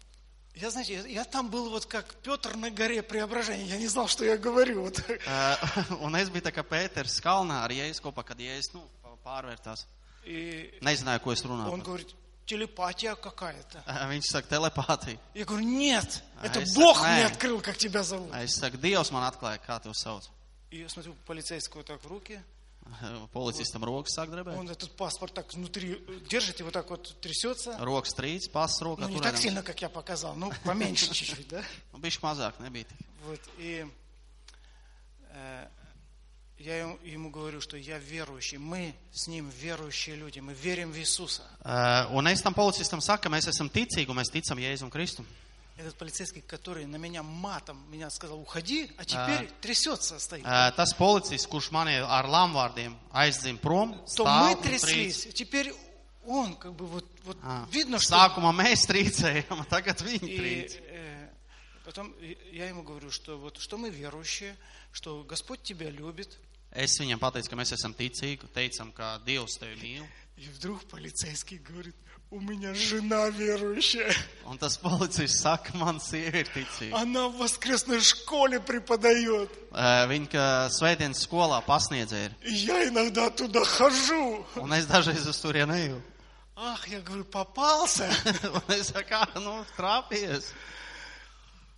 S1: Я, знаете, я, я там был вот как Петр на горе преображения. Я не знал, что я говорю. Вот.
S2: Uh, *laughs* un es biju tā kā Pēters Kalnā ar Jēzus kopā, kad Jēzus nu, pārvērtās.
S1: И
S2: Nezināju, ko es runāju.
S1: он говорит, телепатия какая-то.
S2: Uh, viņš saka, telepātija.
S1: Я говорю, нет,
S2: А,
S1: это
S2: если- А.
S1: Бог
S2: Э.
S1: мне открыл, как тебя зовут.
S2: Eh, Es saku, Dievs man atklāja, kā tev sauc.
S1: И я смотрю, полицейского так в руки.
S2: Uh, Policistam rokas sāk drebēt.
S1: Он этот паспорт так внутри э, держит, и вот так вот трясется.
S2: Rokas trīc, pasas
S1: Ну,
S2: rokā.
S1: не так
S2: turēdams.
S1: сильно, как я показал, ну, поменьше чуть-чуть, да?
S2: Nu, Bišķi mazāk nebija. tik.
S1: Вот, и э, я ему, ему говорю, что я верующий, мы с ним верующие люди, мы верим в Иисуса.
S2: Uh, un es tam policistam saku, mēs esam ticīgi un mēs ticam Jēzum Kristum.
S1: Этот полицейский, который на меня матом, меня сказал, уходи, а теперь трясется стоит.
S2: Ē, Eh, Tas policists, kurš mani ar lāmvārdiem aizdzina prom,
S1: То
S2: stāv
S1: мы
S2: un trīc.
S1: тряслись, а теперь он как бы вот, вот
S2: Ā,
S1: видно, что...
S2: Sākumā mēs trīcējām, *laughs* tagad viņi
S1: И,
S2: trīc.
S1: э, потом и- я ему говорю, что вот, что мы верующие, что Господь тебя любит.
S2: Es viņam pateicu, ka mēs esam ticīgi, teicam, ka Dievs tevi mīl.
S1: И вдруг полицейский говорит, у меня жена верующая.
S2: Un tas *laughs* policists saka, man sieva ir ticīga.
S1: Она в воскресной школе преподает.
S2: Ē, Viņa ka svētdienas skolā pasniedzēja ir.
S1: И я иногда туда хожу.
S2: Un es dažreiz uz turieni eju. *laughs*
S1: Ах, я говорю, попался.
S2: Un es saku, "Ā, nu, trāpījies.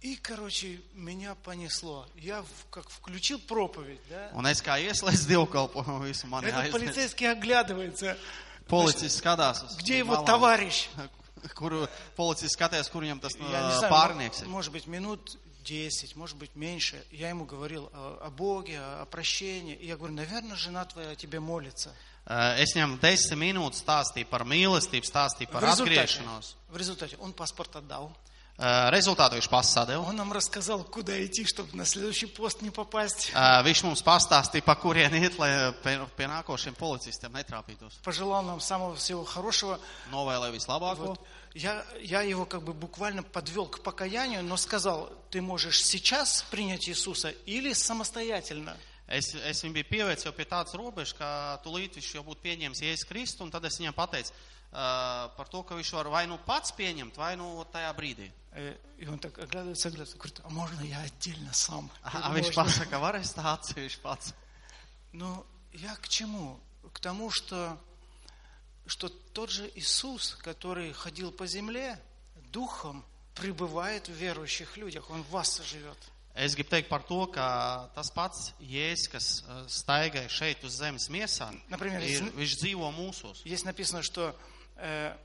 S1: И, короче, меня понесло. Я в- как включил проповедь, да?
S2: Un es kā ieslēdzu dievkalpojumu visu mani
S1: Этот
S2: aizdzina.
S1: полицейский оглядывается.
S2: Policists skatās uz
S1: Где его
S2: malām.
S1: товарищ?
S2: *laughs* Kuru policists skatās, kur viņam tas nu,
S1: Я не знаю,
S2: pārnieks
S1: мо-
S2: ir.
S1: может быть, минут 10, может быть, меньше. Я ему говорил о, о Боге, о, о прощении. И я говорю, наверное, жена твоя о тебе молится.
S2: Uh, Es viņam desmit minūtes stāstīju par mīlestību, stāstīju par atgriešanos.
S1: в результате он паспорт отдал.
S2: Uh, Rezultātu viņš pasadeva.
S1: Он нам рассказал, куда идти, чтобы на следующий пост не попасть.
S2: Uh, Viņš mums pastāstīja, pa kurien iet, lai uh, pie, pie nākošiem policistiem netrāpītos.
S1: Пожелал нам самого всего хорошего.
S2: Novēlēja vislabāko.
S1: Вот. Я, я его как бы буквально подвел к покаянию, но сказал, ты можешь сейчас принять Иисуса или самостоятельно.
S2: Es, es viņu biju pievērsis jau pie tādas robežas, ka tūlīt viņš jau būtu pieņēmis Jēzus Kristu, un tad es viņam pateicu uh, par to, ka viņš var vai nu pats pieņemt, vai nu tajā brīdī.
S1: Э, И он так оглядывается, оглядывается, говорит, а можно я отдельно сам? Я
S2: A,
S1: говорю,
S2: viņš
S1: «Можно».
S2: pats saka, var es tāds, viņš pats.
S1: Но я к чему? К тому, что, что тот же Иисус, который ходил по земле, духом пребывает в верующих людях, он в вас живет.
S2: Es gribu teikt par to, ka tas pats Jēzus, kas uh, staigāja šeit uz zemes miesā,
S1: Например,
S2: ir,
S1: зн-
S2: viņš dzīvo mūsos.
S1: Здесь написано, что э,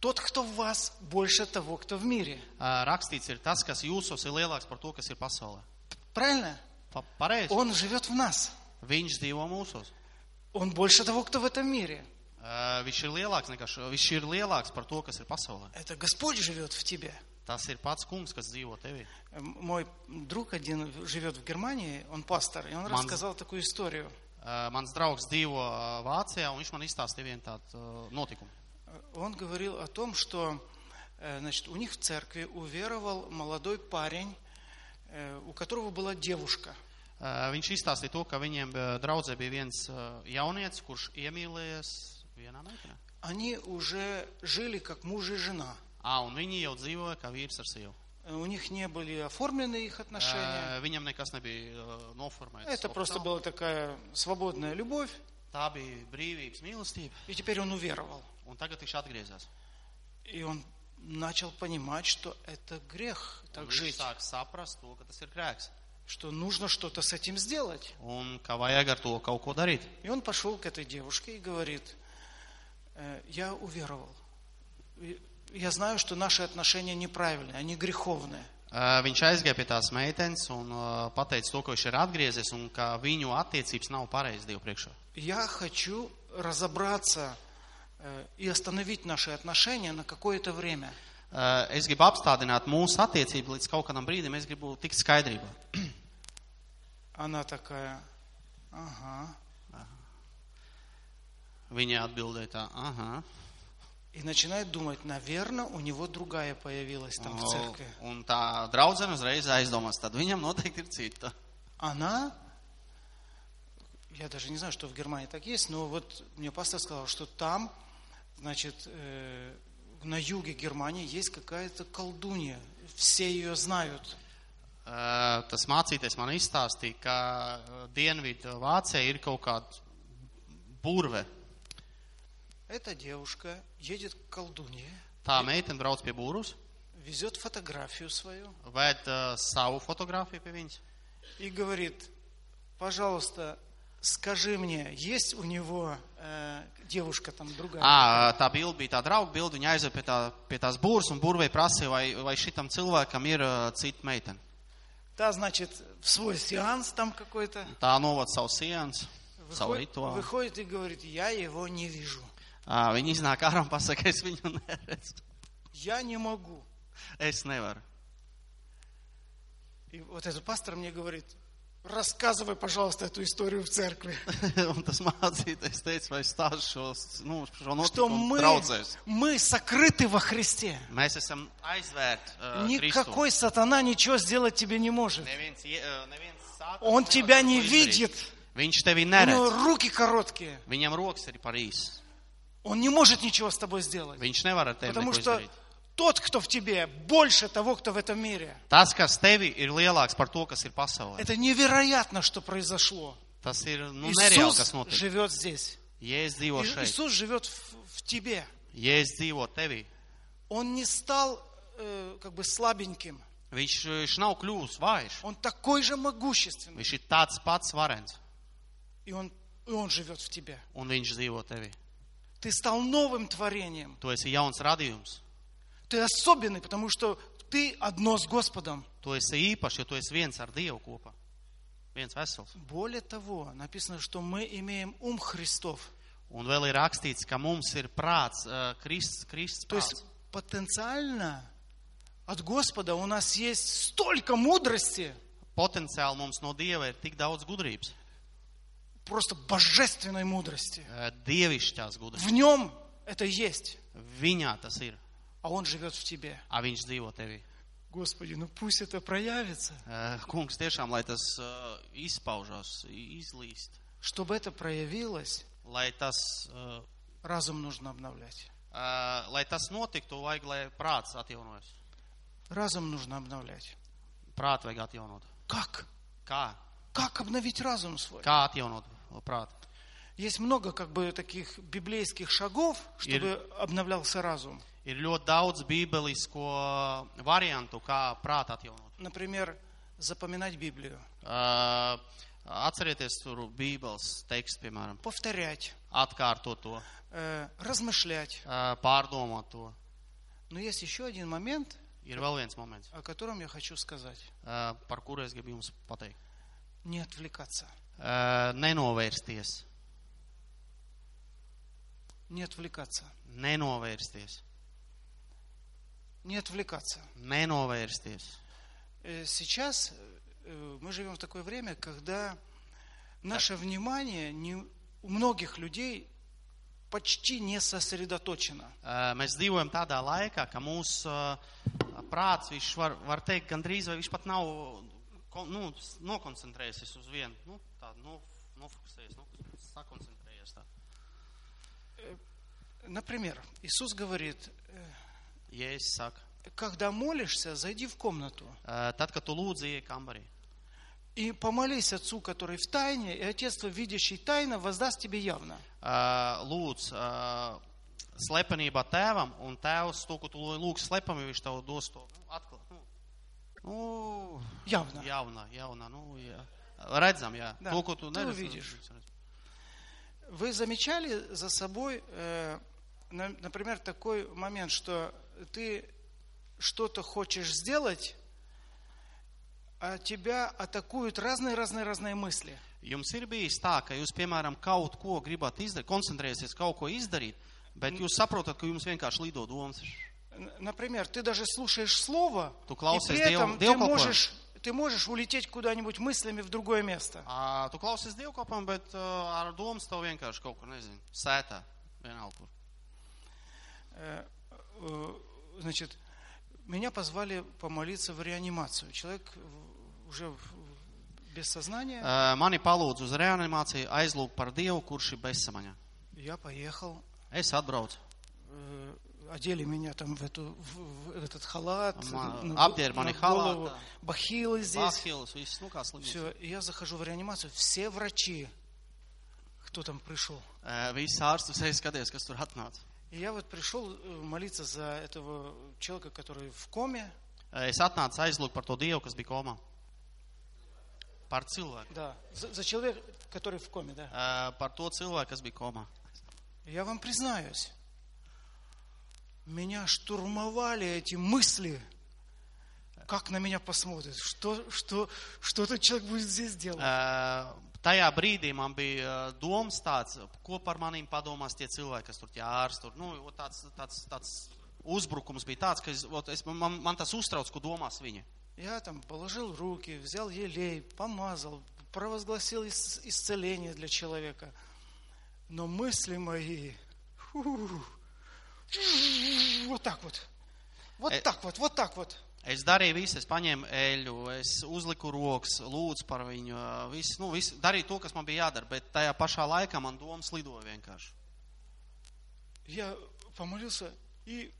S1: тот, кто в вас, больше того, кто в мире.
S2: Uh, Rakstīts ir tas, kas jūsos ir lielāks par to, kas ir pasaulē.
S1: Правильно?
S2: Pa, pareizi.
S1: Он живет в нас.
S2: Viņš dzīvo mūsos.
S1: Он больше того, кто в этом мире.
S2: Uh, Viņš ir lielāks nekā šo. Viņš ir lielāks par to, kas ir pasaulē.
S1: Это Господь живет в тебе. Э,
S2: Tas ir pats kungs, kas dzīvo tevī.
S1: М- Мой друг один живет в Германии, он пастор, и он
S2: Ман-
S1: рассказал такую историю.
S2: Uh, Mans draugs dzīvo uh, Vācijā, un viņš man izstāstīja vienu tādu uh, notikumu.
S1: Э, Он говорил о том, что э, значит, у них в церкви уверовал молодой парень, э, у которого была девушка.
S2: Uh, Viņš izstāstīja to, ka viņiem uh, draudzē bija viens uh, jaunietis, kurš iemīlējies vienā meitenē.
S1: Они уже жили как муж и жена.
S2: À, un viņi jau dzīvoja kā vīrs ar sievu.
S1: Э, У них не были оформлены их отношения.
S2: Ā, Viņam nekas nebija ā, noformēts.
S1: Это просто
S2: oficiāli.
S1: была такая свободная любовь,
S2: Tā bija brīvības mīlestība,
S1: и теперь он уверовал.
S2: un tagad viņš atgriezās.
S1: И он начал понимать, что это грех
S2: Un
S1: так
S2: Viņš
S1: жить,
S2: sāk saprast to, ka tas ir grēks,
S1: что нужно что-то с этим сделать.
S2: un ka vajag ar to kaut ko darīt.
S1: И он пошел к этой девушке и говорит, «Э, я уверовал. И Я знаю, что наши отношения неправильные, они греховные.
S2: Ā, Viņš aizgāja pie tās meitenes un ā, pateica to, ka viņš ir atgriezies un ka viņu attiecības nav pareizas Dievu priekšā.
S1: Я хочу разобраться э, и остановить наши отношения на какое-то время.
S2: Ā, Es gribu apstādināt mūsu attiecību līdz kaut kādam brīdim, es gribu tikt skaidrībā.
S1: Она такая, ага.
S2: Viņa atbildēja tā, aha.
S1: И начинает думать, наверное, у него другая появилась там в церкви.
S2: Un tā draudzene uzreiz aizdomās, tad viņam noteikti ir cita.
S1: Она, я даже не знаю, что в Германии так есть, но вот мне пастор сказал, что там, значит, э, на юге Германии есть какая-то колдунья. Все ее знают.
S2: Uh, tas mācīties man izstāstīja, ka uh, Dienvidu Vācijā ir kaut kāda burve.
S1: Эта девушка едет к колдунье,
S2: Tā meitene brauc pie būrus,
S1: везет фотографию свою
S2: vēd uh, savu fotografiju pie viņas.
S1: и говорит, пожалуйста, скажи мне, есть у него э, девушка там другая?
S2: À, eh, tā bilde bija tā drauga bilde, viņa aizved pie, tā, pie tās būras un burvei prasīja, vai, vai šitam cilvēkam ir uh, cita meitene.
S1: Та, значит, в свой сеанс там какой-то
S2: Tā novada savu sienas, savu
S1: выходит,
S2: rituālu.
S1: выходит и говорит, я его не вижу.
S2: À, viņa iznāk ārā un pasaka, es viņu neredzu. *laughs*
S1: Я не могу.
S2: Es nevaru. *laughs*
S1: И вот этот пастор мне говорит, рассказывай, pожалуйста, эту историю в церкви.
S2: un tas mācīties teica, vai stāstu šo, nu, šo
S1: Что
S2: notikumu
S1: мы,
S2: draudzēs.
S1: мы сокрыты во Христе.
S2: Mēs esam aizvērti. Uh, Kristu.
S1: Никакой сатана ничего сделать тебе не может.
S2: Neviens, ie- uh, neviens sākums
S1: Он
S2: nevar
S1: тебя не
S2: to izdarīt.
S1: видит.
S2: Viņš tevi
S1: У
S2: neredz.
S1: него руки короткие.
S2: Viņam rokas ir par īsu.
S1: Он не может ничего с тобой сделать.
S2: Viņš nevar ar tevi
S1: Потому
S2: neko
S1: что
S2: izdarīt.
S1: тот, кто в тебе, больше того, кто в этом мире.
S2: Tas, kas tevī ir lielāks par to, kas ir pasaulē,
S1: Это невероятно, что произошло.
S2: tas ir nu, nereāli, kas
S1: Иисус
S2: notiek.
S1: живет здесь.
S2: Jēzus dzīvo
S1: И-
S2: šeit,
S1: Иисус живет в- в тебе.
S2: Jēzus dzīvo tevī.
S1: Он не стал э, как бы слабеньким.
S2: Viņš, viņš nav kļuvis vājš.
S1: Он такой же могущественный.
S2: Viņš ir tāds pats varens
S1: И он, и он живет в тебе.
S2: un viņš dzīvo tevī.
S1: Ты стал новым творением.
S2: Tu esi jauns radījums.
S1: Ты особенный, потому что ты одно с Господом.
S2: Tu esi īpašs, jo tu esi viens ar Dievu kopā. Viens vesels.
S1: Более того, написано, что мы имеем ум Христов.
S2: Un vēl ir rakstīts, ka mums ir prāts, uh, Krists, Krists
S1: То есть
S2: prāts.
S1: потенциально от Господа у нас есть столько мудрости,
S2: Potenciāli mums no Dieva ir tik daudz gudrības,
S1: просто божественной
S2: Eh,
S1: мудрости.
S2: uh, dievišķās gudrības.
S1: В нем это есть.
S2: Viņā tas ir.
S1: а Он живет в тебе.
S2: a viņš dzīvo tevī.
S1: Господи, ну пусть это проявится.
S2: Eh, Kungs, tiešām, lai tas eh, izpaužās, izlīst,
S1: Чтобы это проявилось,
S2: lai tas, eh,
S1: разум нужно обновлять.
S2: eh, lai tas notiktu, vajag, lai prāts atjaunojas.
S1: Разум нужно обновлять.
S2: Prātu vajag atjaunot.
S1: Как?
S2: Kā?
S1: Как обновить разум свой?
S2: Kā atjaunot prātu?
S1: Есть много как бы таких библейских шагов, чтобы обновлялся разум.
S2: Ir ļoti daudz bībelisko variantu, kā prātu atjaunot.
S1: Например, запоминать Библию,
S2: Eh, Atcerieties, tur bībeles teksts, piemēram,
S1: повторять,
S2: atkārtot to,
S1: э, размышлять.
S2: eh, pārdomāt to.
S1: Но есть еще один момент,
S2: Ir vēl viens moments,
S1: о котором я хочу сказать.
S2: eh, par kuru es gribu jums pateikt.
S1: Не отвлекаться.
S2: Eh, Nenovērsties.
S1: Не отвлекаться.
S2: Nenovērsties.
S1: Не отвлекаться.
S2: Nenovērsties. Eh,
S1: Э, Сейчас э, мы живем в такое время, когда наше внимание не- у многих людей почти не сосредоточено.
S2: Eh, Mēs dzīvojam tādā laikā, ka mūsu eh, prāts, viņš var, var teikt, gandrīz vai viņš pat nav kon- nu, s- nokoncentrējies uz vienu. Nu, tā, nu, nofokusējies, nu, sakoncentrējies. Tā.
S1: Например, Иисус говорит, э,
S2: Ja es saku,
S1: когда молишься, зайди в комнatу
S2: eh, tad, kad tu lūdzi, iek ambarī.
S1: и помолись Отцу, который в тайне, и Отец, твой, видящий тайно, воздаст тебе явно.
S2: Eh, Lūdz eh, slepenībā tēvam, un tēvs to, ko tu lūdz slepenībā, viņš tev dos to nu, atklāt. Nu, nu,
S1: Явно.
S2: Jaunā, jaunā, nu, jā. Redzam, jā.
S1: Da,
S2: To, ko
S1: tu
S2: tu neredzi.
S1: vidiš.
S2: tu redz.
S1: Вы замечали за собой, э, на- например, такой момент, что ты что-то хочешь сделать, а тебя атакуют разные-разные-разные мысли.
S2: Jums ir bijis tā, ka jūs, piemēram, kaut ko gribat izdarīt, koncentrēsieties kaut ko izdarīt, bet jūs saprotat, ka jums vienkārši lido domas.
S1: Н- Например, ты даже слушаешь слово,
S2: Tu
S1: и
S2: klausies
S1: при
S2: Dievu,
S1: этом ты
S2: Dievkalpojumu.
S1: можешь, ты можешь улететь куда-нибудь мыслями в другое место.
S2: Ā, Tu klausies Dievkopam, bet ā, ar domas tev vienkārši kaut kur, nezinu, sētā. Vienalga kur.
S1: Э, э, Значит, меня позвали помолиться в реанимацию. Человек в- уже в- без сознания.
S2: Ā, Mani palūdz uz reanimāciju, aizlūg par Dievu, kurš ir bezsamaņā.
S1: Я поехал,
S2: Es atbraucu.
S1: э, одели меня там в, эту, в, в этот халат,
S2: Ма-
S1: на-
S2: а, Абдер,
S1: на
S2: мани халат,
S1: голову,
S2: да.
S1: бахилы здесь.
S2: Vāhils, viss, nu kā slimnīca.
S1: Все, я захожу в реанимацию, все врачи, кто там пришел.
S2: Ā, Visi ārstus es skaties, kas tur atnāca.
S1: И я вот пришел э, молиться за этого человека, который в коме,
S2: Ā, Es atnācu aizlūg par to Dievu, kas bija komā. Par cilvēku.
S1: да, за, за человека, который в коме, да.
S2: Ā, Par to cilvēku, kas bija komā.
S1: Я вам признаюсь, меня штурмовали эти мысли, как на меня посмотрят, что, что, что этот человек будет здесь делать.
S2: Uh, tajā brīdī man bija uh, domas tāds, ko par manīm padomās tie cilvēki, kas tur tie ārsti. tur. Nu, o, tāds, tāds, tāds uzbrukums bija tāds, ka es, ot, es, man, man tas uztrauc, ko domās viņi.
S1: Я там положил руки, взял елей, помазал, провозгласил ис- исцеление для человека. Но мысли мои... фу, вот так вот. Вот
S2: Э.
S1: так вот, вот так вот.
S2: Es darīju visu, es paņēmu eļu, es uzliku rokas, lūdzu par viņu, uh, visu, nu, visu, darīju to, kas man bija jādara, bet tajā pašā laikā man domas lidoja vienkārši.
S1: Я помолился и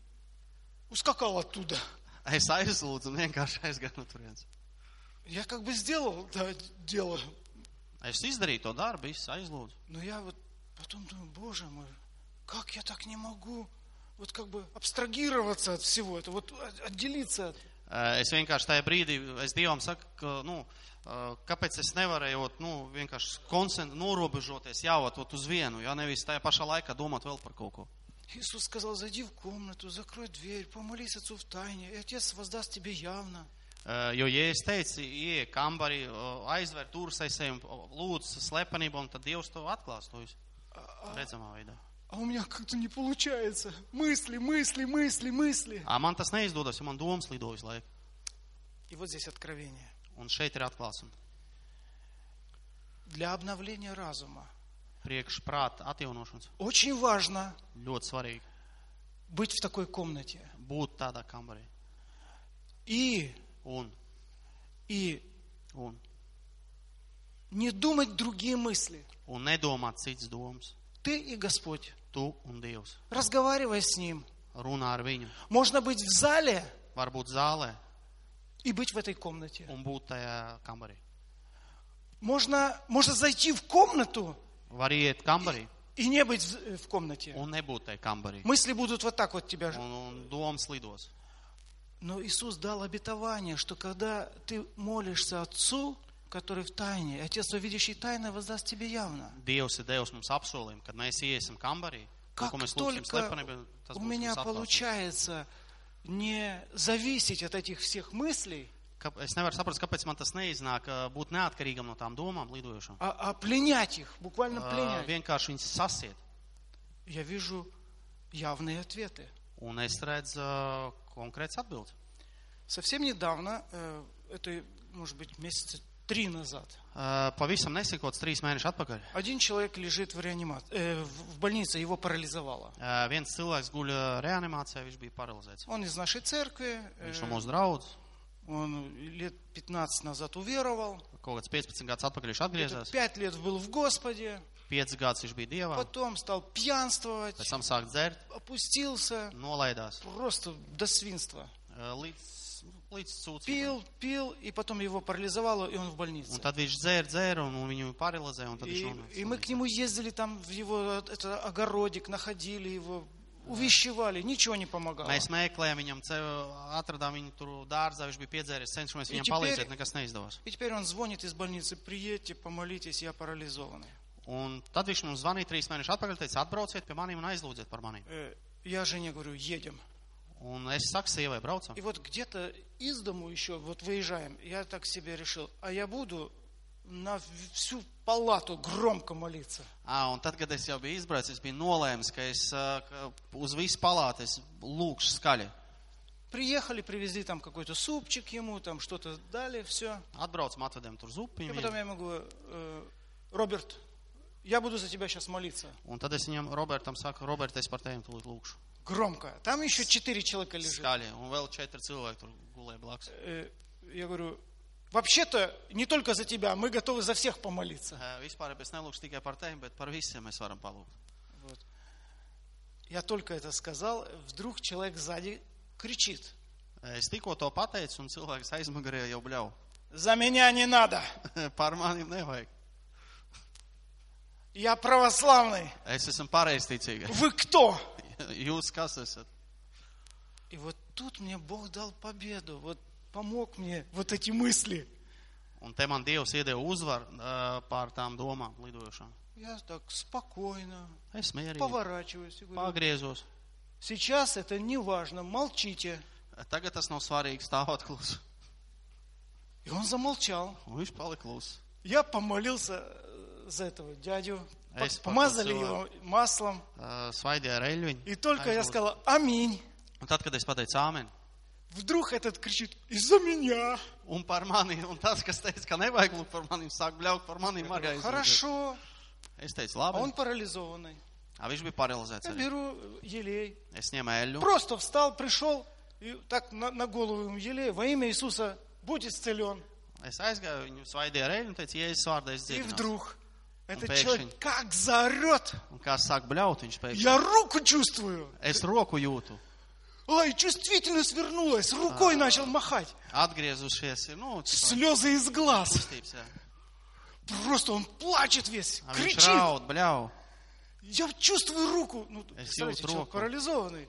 S1: ускакал оттуда.
S2: Es aizlūdzu un vienkārši aizgāju no turienes.
S1: Я как бы сделал да, дело,
S2: Es izdarīju to darbu, visu aizlūdzu.
S1: но я вот потом думаю, боже мой, как я так не могу вот как бы абстрагироваться от всего этого, вот от- отделиться от
S2: Eh, Es vienkārši tajā brīdī, es Dievam saku, ka, nu, eh, kāpēc es nevarēju ot, nu, vienkārši koncent- norobežoties jau ot, ot uz vienu, ja nevis tajā pašā laikā domāt vēl par kaut ko.
S1: Иисус сказал, зайди в комнату, закрой дверь, помолись Отцу в тайне, и Отец воздаст тебе явно.
S2: Eh, Jo, ja es teicu, ieej kambarī, eh, aizver durvis aiz sevi, lūdzu slepenību, un tad Dievs to atklās to visu redzamā veidā.
S1: А у меня как-то не получается. Мысли, мысли, мысли, мысли.
S2: Ā, Man tas neizdodas, jo man domas lido visu laiku.
S1: И вот здесь откровение.
S2: Un šeit ir atklāsme.
S1: Для обновления разума
S2: Priekšprāta atjaunošanas
S1: очень важно
S2: ļoti svarīgi.
S1: быть в такой комнате.
S2: būt tādā kambarī.
S1: И,
S2: Un,
S1: и
S2: un,
S1: не думать другие мысли.
S2: un nedomāt cits domas.
S1: Ты и Господь.
S2: Tu un Dievs
S1: Разговаривай с Ним.
S2: runā ar viņu.
S1: Можно быть в зале
S2: Var būt zālē
S1: и быть в этой комнате.
S2: un būt tajā kambarī.
S1: Можно, можно зайти в комнату
S2: Var iet kambarī
S1: и не быть в в комнате.
S2: un nebūt tajā kambarī.
S1: Мысли будут вот так вот тебя. ж-
S2: Un, un domas lidos.
S1: Но Иисус дал обетование, что когда ты молишься Отцу, который в тайне, Отец, видящий тайно, воздаст тебе явно.
S2: Dievs ir devis mums apsolījumu, kad mēs iesim kambarī. to,
S1: Как
S2: Ko mēs lūgsim
S1: только
S2: slepenībā, tas
S1: у
S2: būs mums
S1: меня
S2: atklāts.
S1: получается не зависеть от этих всех мыслей,
S2: Kā- Es nevaru saprast, kāpēc man tas neiznāk ā, būt neatkarīgam no tām domām lidojošām.
S1: а, а пленять их, буквально
S2: Ā,
S1: пленять,
S2: Vienkārši viņas sasiet.
S1: я вижу явные ответы.
S2: Un es redzu ā, konkrēts atbildes.
S1: Совсем недавно, э, это, может быть, месяца три назад,
S2: Uh, pavisam nesekots trīs mēnešus atpakaļ.
S1: один человек лежит в реанимации, в больнице, его парализовало.
S2: Uh, viens cilvēks guļ uh, reanimācijā, viņš bija paralizēts.
S1: Он из нашей церкви, э,
S2: Viņš no mūsu draudzes
S1: он лет 15 назад уверовал,
S2: kaut kāds 15 gadus atpakaļ viņš
S1: где-то
S2: atgriezās,
S1: пять лет был в Господе,
S2: 5 gadus viņš bija dievā,
S1: потом стал пьянствовать,
S2: pēc tam sāk dzert,
S1: опустился,
S2: nolaidās
S1: просто до свинства.
S2: uh, līdz, līdz sūdzībai.
S1: Пил, пил, и потом его парализовало, и он в
S2: Un
S1: больнице.
S2: tad viņš dzēr, dzēr, un un viņu paralizē, un tad viņš
S1: И,
S2: nonāk
S1: и мы к
S2: slimnīcā.
S1: нему ездили, там в его э, это, огородик, находили его, увещевали, ничего не помогало.
S2: Mēs meklējām viņam, cev- atradām viņu tur dārzā, viņš bija piedzēries, cenšamies
S1: I
S2: viņam
S1: ķiperi-
S2: palīdzēt, nekas neizdevās.
S1: И теперь он звонит из больницы, приедьте, помолитесь, я парализованный.
S2: Un tad viņš mums zvanīja trīs mēnešus atpakaļ, teica, atbrauciet pie maniem un aizlūdziet par maniem.
S1: Э, Я жене говорю, едем.
S2: Un es saku sievai, braucam.
S1: И вот где-то из дому еще, вот выезжаем, я так себе решил, а я буду на в- всю палату громко молиться.
S2: À, un tad, kad es jau biju izbraucis, es biju nolēmis, ka es ā, ka uz visu palātu es lūkšu skaļi.
S1: Приехали, привезли там какой-то супчик ему, там что-то дали, все.
S2: Atbraucam, atvedam tur
S1: И
S2: zupiņu.
S1: потом
S2: viņam.
S1: я ему говорю, «Э, Роберт, я буду за тебя сейчас молиться.
S2: Un tad es viņam, Robertam, saku, Robert, es par tevi tūlīt lūkšu.
S1: Громко. Там еще четыре человека лежит.
S2: Skaļi. Un vēl četri cilvēki tur gulēja blakus.
S1: Э, Я говорю, вообще-то не только за тебя, мы готовы за всех помолиться.
S2: Ā, Vispār es nelūkšu tikai par tevi, bet par visiem mēs varam palūgt.
S1: Вот. Я только это сказал, вдруг человек сзади кричит.
S2: Es tikko to pateicu, un cilvēks aizmugurē jau bļau. *laughs*
S1: За меня не надо,
S2: par maniem nevajag.
S1: я православный,
S2: Es esmu pareizticīgs.
S1: вы кто?
S2: *laughs* Jūs kas esat?
S1: И вот тут мне Бог дал победу, вот помог мне вот эти мысли.
S2: Un te man Dievs iedeva uzvaru ā, pār tām domām lidojošām.
S1: Я так спокойно
S2: Es mierīgi.
S1: поворачиваюсь и говорю,
S2: Pagriezos.
S1: сейчас это не важно, молчите.
S2: Tagad tas nav svarīgi stāvot klusu.
S1: И он замолчал.
S2: Un Viņš palika klusu.
S1: Я помолился э, за этого дядю,
S2: А если
S1: пок- помазали
S2: попросила?
S1: его маслом.
S2: Uh, Svaidīja reļļiņu.
S1: И только я
S2: Aizlūdzu.
S1: сказал «Аминь»,
S2: Un tad, kad es pateicu āmen,
S1: вдруг этот кричит «Из-за меня!»
S2: un par mani, un tas, kas teica, ka nevajag lūgt par maniem, sāk bļaut par maniem arī.
S1: «Хорошо».
S2: Es teicu,
S1: А
S2: labi.
S1: он парализованный.
S2: À, viņš bija paralizēts.
S1: Я
S2: Arī.
S1: беру э, елей.
S2: Es ņēmu eļļu.
S1: Просто встал, пришел, и так на, на голову ему елей во имя Иисуса «Будь исцелен».
S2: Es aizgāju, viņu svaidīja reļļu un teicu, Jēzus vārdā es
S1: И
S2: dzīvoju.
S1: вдруг этот
S2: пекшень.
S1: человек как заорет.
S2: Un kā sāk bļaut, viņš pēkšņi.
S1: Я руку чувствую.
S2: Es roku jūtu.
S1: Ой, чувствительность вернулась. Рукой начал махать.
S2: Atgriezušies, ir, nu, ķipa,
S1: Слезы из глаз.
S2: kustības, jā.
S1: Просто он плачет весь,
S2: À, viņš
S1: кричит.
S2: raud, bļau.
S1: Я чувствую руку. Ну, представляете,
S2: вот
S1: человек
S2: руку.
S1: парализованный.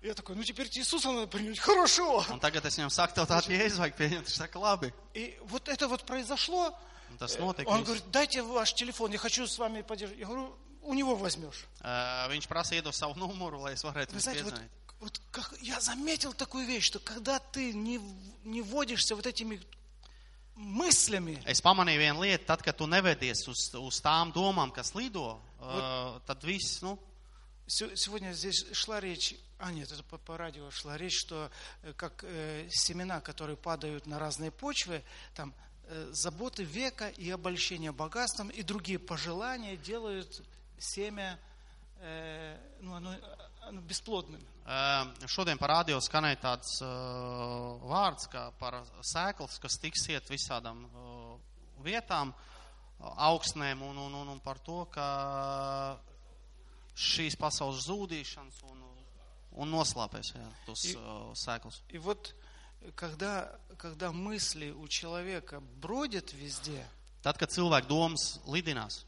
S1: Я такой, ну теперь Иисуса надо принять. Хорошо.
S2: Un tagad es viņam saku, tev tādu jēzu vajag pieņemt. Viņš saka, labi.
S1: И вот это вот произошло.
S2: Un tas notika.
S1: Он
S2: viss.
S1: говорит, дайте ваш телефон, я хочу с вами поддержать. Я говорю, у него возьмешь.
S2: Ā, Viņš prasa iedot savu numuru, lai es varētu
S1: Вы
S2: viņus
S1: знаете, вот,
S2: piezvanīt.
S1: вот как, я заметил такую вещь, что когда ты не, в- не водишься вот этими мыслями,
S2: Es pamanīju vienu lietu, tad, kad tu nevedies uz, uz tām domām, kas lido, uh, tad viss, nu,
S1: Сё- Сегодня здесь шла речь, а нет, это по, по радио шла речь, что э, как э, семена, которые падают на разные почвы, там э, заботы века и обольщение богатством и другие пожелания делают семя, э, ну, оно, э, ну, бесплодными.
S2: Ēm, Šodien parādījos skanēja tāds ā, vārds, kā par sēklas, kas tiks iet visādām ā, vietām, ā, augsnēm un, un, un, un par to, ka šīs pasaules zūdīšanas un, un noslāpēs jā, tos
S1: I-
S2: ā, sēklas.
S1: И вот э, когда, когда мысли у человека бродят везде,
S2: Tad, kad cilvēku domas lidinās,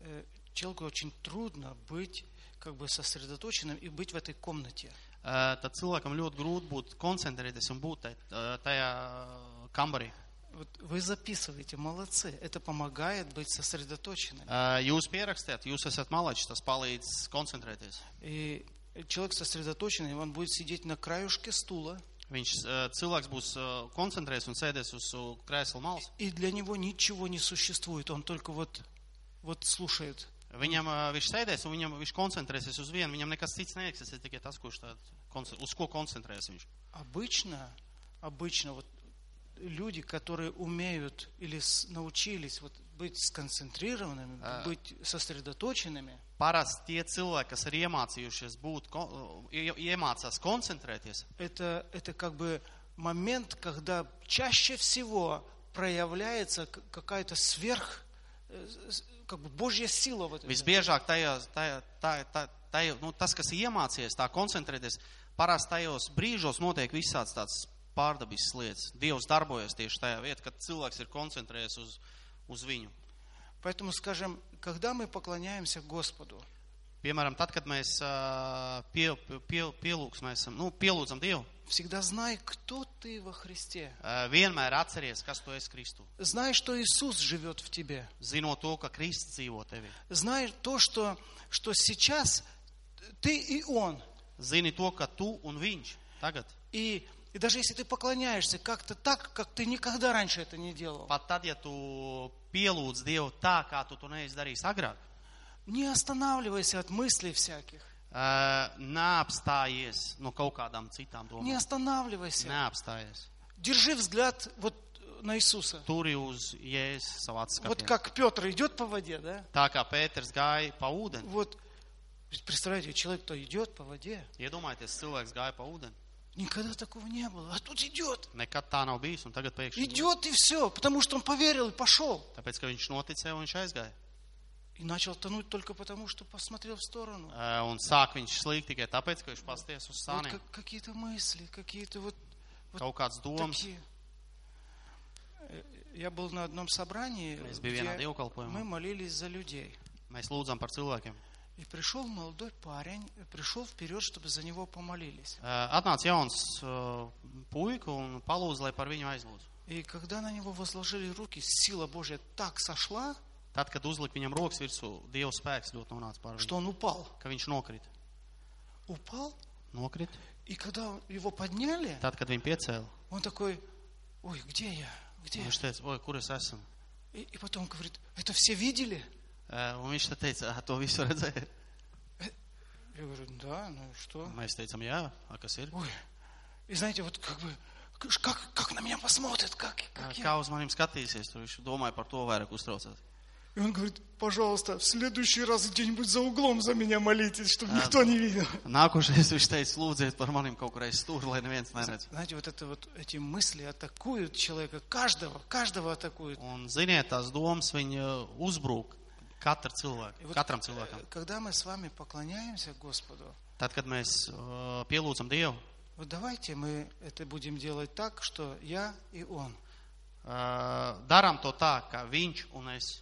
S1: э, человеку очень трудно быть как бы сосредоточенным и быть в этой комнате.
S2: ā, Э, tad cilvēkam ļoti grūti būt koncentrēties un būt tai- ā, tajā kambarī.
S1: Вот вы записываете, молодцы. Это помогает быть сосредоточенным.
S2: Ā, Jūs pierakstījāt, jūs esat malači, tas palīdz koncentrēties.
S1: И человек сосредоточенный, он будет сидеть на краюшке стула,
S2: Viņš eh, cilvēks būs eh, koncentrējies un sēdēs uz eh, krēsla malas.
S1: и для него ничего не существует. Он только вот, вот слушает.
S2: Viņam eh, viņš sēdēs un viņam, viņš koncentrēsies uz vienu. Viņam nekas cits neeksistē, tikai tas, kurš tā, konce- uz ko koncentrējas viņš.
S1: Обычно, обычно вот люди, которые умеют или с- научились вот быть сконцентрированными,
S2: А.
S1: быть сосредоточенными,
S2: Parasti tie cilvēki, kas ir iemācījušies būt, ko- ie- iemācās koncentrēties,
S1: это, это как бы момент, когда чаще всего проявляется к- какая-то сверх, э, с- как бы Божья сила вот эта.
S2: visbiežāk tajos, tajā, tajā, tajā, tajā, nu, tas, kas ir iemācījies tā koncentrēties, parasti tajos brīžos notiek visāds tāds pārdabisks lietas. Dievs darbojas tieši tajā vietā, kad cilvēks ir koncentrējies uz, uz viņu.
S1: Поэтому, скажем, когда мы поклоняемся Господу,
S2: Piemēram, tad, kad mēs ā, pie, pie, pielūgstam, nu, pielūdzam Dievu,
S1: всегда знай, кто ты во Христе.
S2: ā, vienmēr atceries, kas tu esi Kristu.
S1: Знай, что Иисус живет в тебе.
S2: Zinot to, ka Kristus dzīvo tevi.
S1: Знай то, что, что сейчас ты и Он.
S2: Zini to, ka tu un viņš tagad.
S1: И, и даже если ты поклоняешься как-то так, как ты никогда раньше это не делал,
S2: Pat tad, ja tu pielūdz Dievu tā, kā tu to neesi darījis agrāk,
S1: не останавливайся от мыслей всяких.
S2: ā, neapstājies no kaut kādām citām
S1: Не
S2: domām.
S1: останавливайся.
S2: Neapstājies.
S1: Держи взгляд вот на Иисуса.
S2: Turi uz jēzus savā
S1: Вот
S2: skatījumā.
S1: как Петр идет по воде, да?
S2: Tā kā Pēters gāja pa ūdeni.
S1: Вот, представляете, человек-то идет по воде.
S2: Iedomājieties, cilvēks gāja pa ūdeni.
S1: Никогда такого не было. А тут идет.
S2: Nekad tā nav bijis un tagad pēkšņi.
S1: Идет и все, потому что он поверил и пошел.
S2: Tāpēc, ka viņš noticēja un viņš aizgāja.
S1: И начал тонуть только потому, что посмотрел в сторону.
S2: Ē, Un sāk viņš slīgt tikai tāpēc, ka viņš pasties uz
S1: Вот
S2: sāniem.
S1: как- какие-то мысли, какие-то вот, вот
S2: Kaut kāds domas.
S1: такие. Э, Я был на одном собрании,
S2: Mēs
S1: где
S2: bijām vienā
S1: мы
S2: dievkalpojumā.
S1: молились за людей.
S2: Mēs lūdzām par cilvēkiem.
S1: И пришел молодой парень, э, пришел вперед, чтобы за него помолились.
S2: Ē, Atnāca jauns ā, puika un palūdza, lai par viņu aizlūdz.
S1: И когда на него возложили руки, сила Божья так сошла,
S2: Tad, kad uzlika viņam rokas virsū, Dieva spēks ļoti nonāca pār viņu.
S1: что он упал.
S2: Ka viņš nokrita.
S1: Упал,
S2: Nokrit.
S1: и когда он- его подняли,
S2: Tad, kad viņu piecēla,
S1: он такой, ой, где я? Где я?»
S2: viņš teica, oi, kur es esmu?
S1: И, и потом говорит, это все видели?
S2: Ē, Un viņš tad teica, "Ā, to visu redzēja.
S1: Я говорю, да, ну и что?
S2: Mēs teicām, jā, a, kas ir?
S1: Ой, и знаете, вот как бы, к- ш- как, как на меня посмотрят, как,
S2: Ā,
S1: как я?
S2: Kā uz maniem skatīsies? Tur viņš domāja par to vairāk uztraucās.
S1: И он говорит, пожалуйста, в следующий раз где-нибудь за углом за меня молитесь, чтобы
S2: А,
S1: никто не видел.
S2: Nākošais viņš teica, lūdziet par maniem kaut kur aiz stūra, lai neviens neredz.
S1: Знаете, вот это вот эти мысли атакуют человека, каждого, каждого атакуют.
S2: Un ziniet, tās domas viņa uzbrūk katra cilvēka,
S1: И вот,
S2: katram
S1: э,
S2: cilvēkam.
S1: Когда мы с вами поклоняемся Господу,
S2: Tad, kad mēs uh, pielūdzam Dievu,
S1: вот давайте мы это будем делать так, что я и он.
S2: uh, darām to tā, kā Viņš un es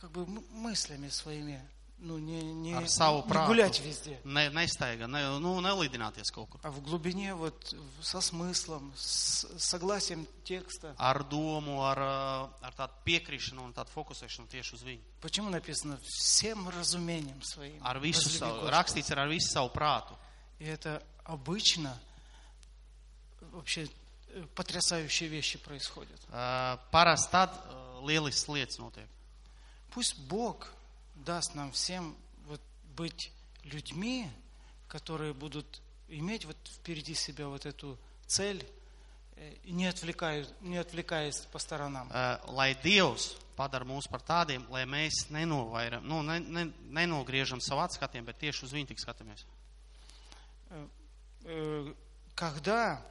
S1: Как бы м- мыслями своими, ну не, не,
S2: ar savu
S1: не
S2: prātu
S1: гулять везде.
S2: ne, nestaigā, ne, nu, nelīdināties kaut kur.
S1: А в глубине, вот в- со смыслом, с согласием текста.
S2: Ar domu, ar, uh, ar tādu piekrišanu un tādu fokusēšanu tieši uz viņu.
S1: Почему написано всем разумением своим?
S2: Ar visu
S1: возлюби
S2: savu,
S1: Господа».
S2: rakstīts ir ar visu savu prātu.
S1: И это обычно вообще э, потрясающие вещи происходят.
S2: Uh, Parasti tad uh, lielisks lietas notiek.
S1: Пусть Бог даст нам всем вот быть людьми, которые будут иметь вот впереди себя вот эту цель, э, и не, отвлекают, не отвлекаясь по сторонам.
S2: Eh, lai Dievs padara mūs par tādiem, lai mēs nenovairam, nu, ne, ne, nenogriežam savu atskatiem, bet tieši uz viņu tik skatāmies.
S1: э, когда,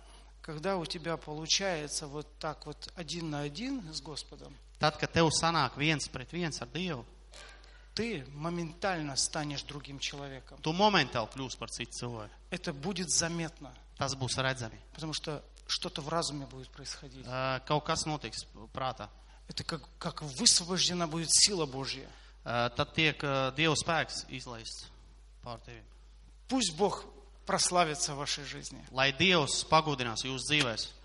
S1: когда у тебя получается вот так вот один на один с Господом,
S2: Tad, kad tev sanāk viens pret viens ar Dievu,
S1: ты моментально станешь другим человеком.
S2: tu momentāli kļūsi par citu cilvēku.
S1: Это будет заметно,
S2: Tas būs redzami.
S1: потому что что-то в разуме будет происходить.
S2: Ā, Kaut kas notiks prātā.
S1: Это как, как высвобождена будет сила Божья.
S2: Ā, Eh, Tad tiek ā, Dieva spēks izlaists pār tevi.
S1: Пусть Бог прославится в вашей жизни.
S2: Lai Dievs pagodinās jūsu dzīvēs.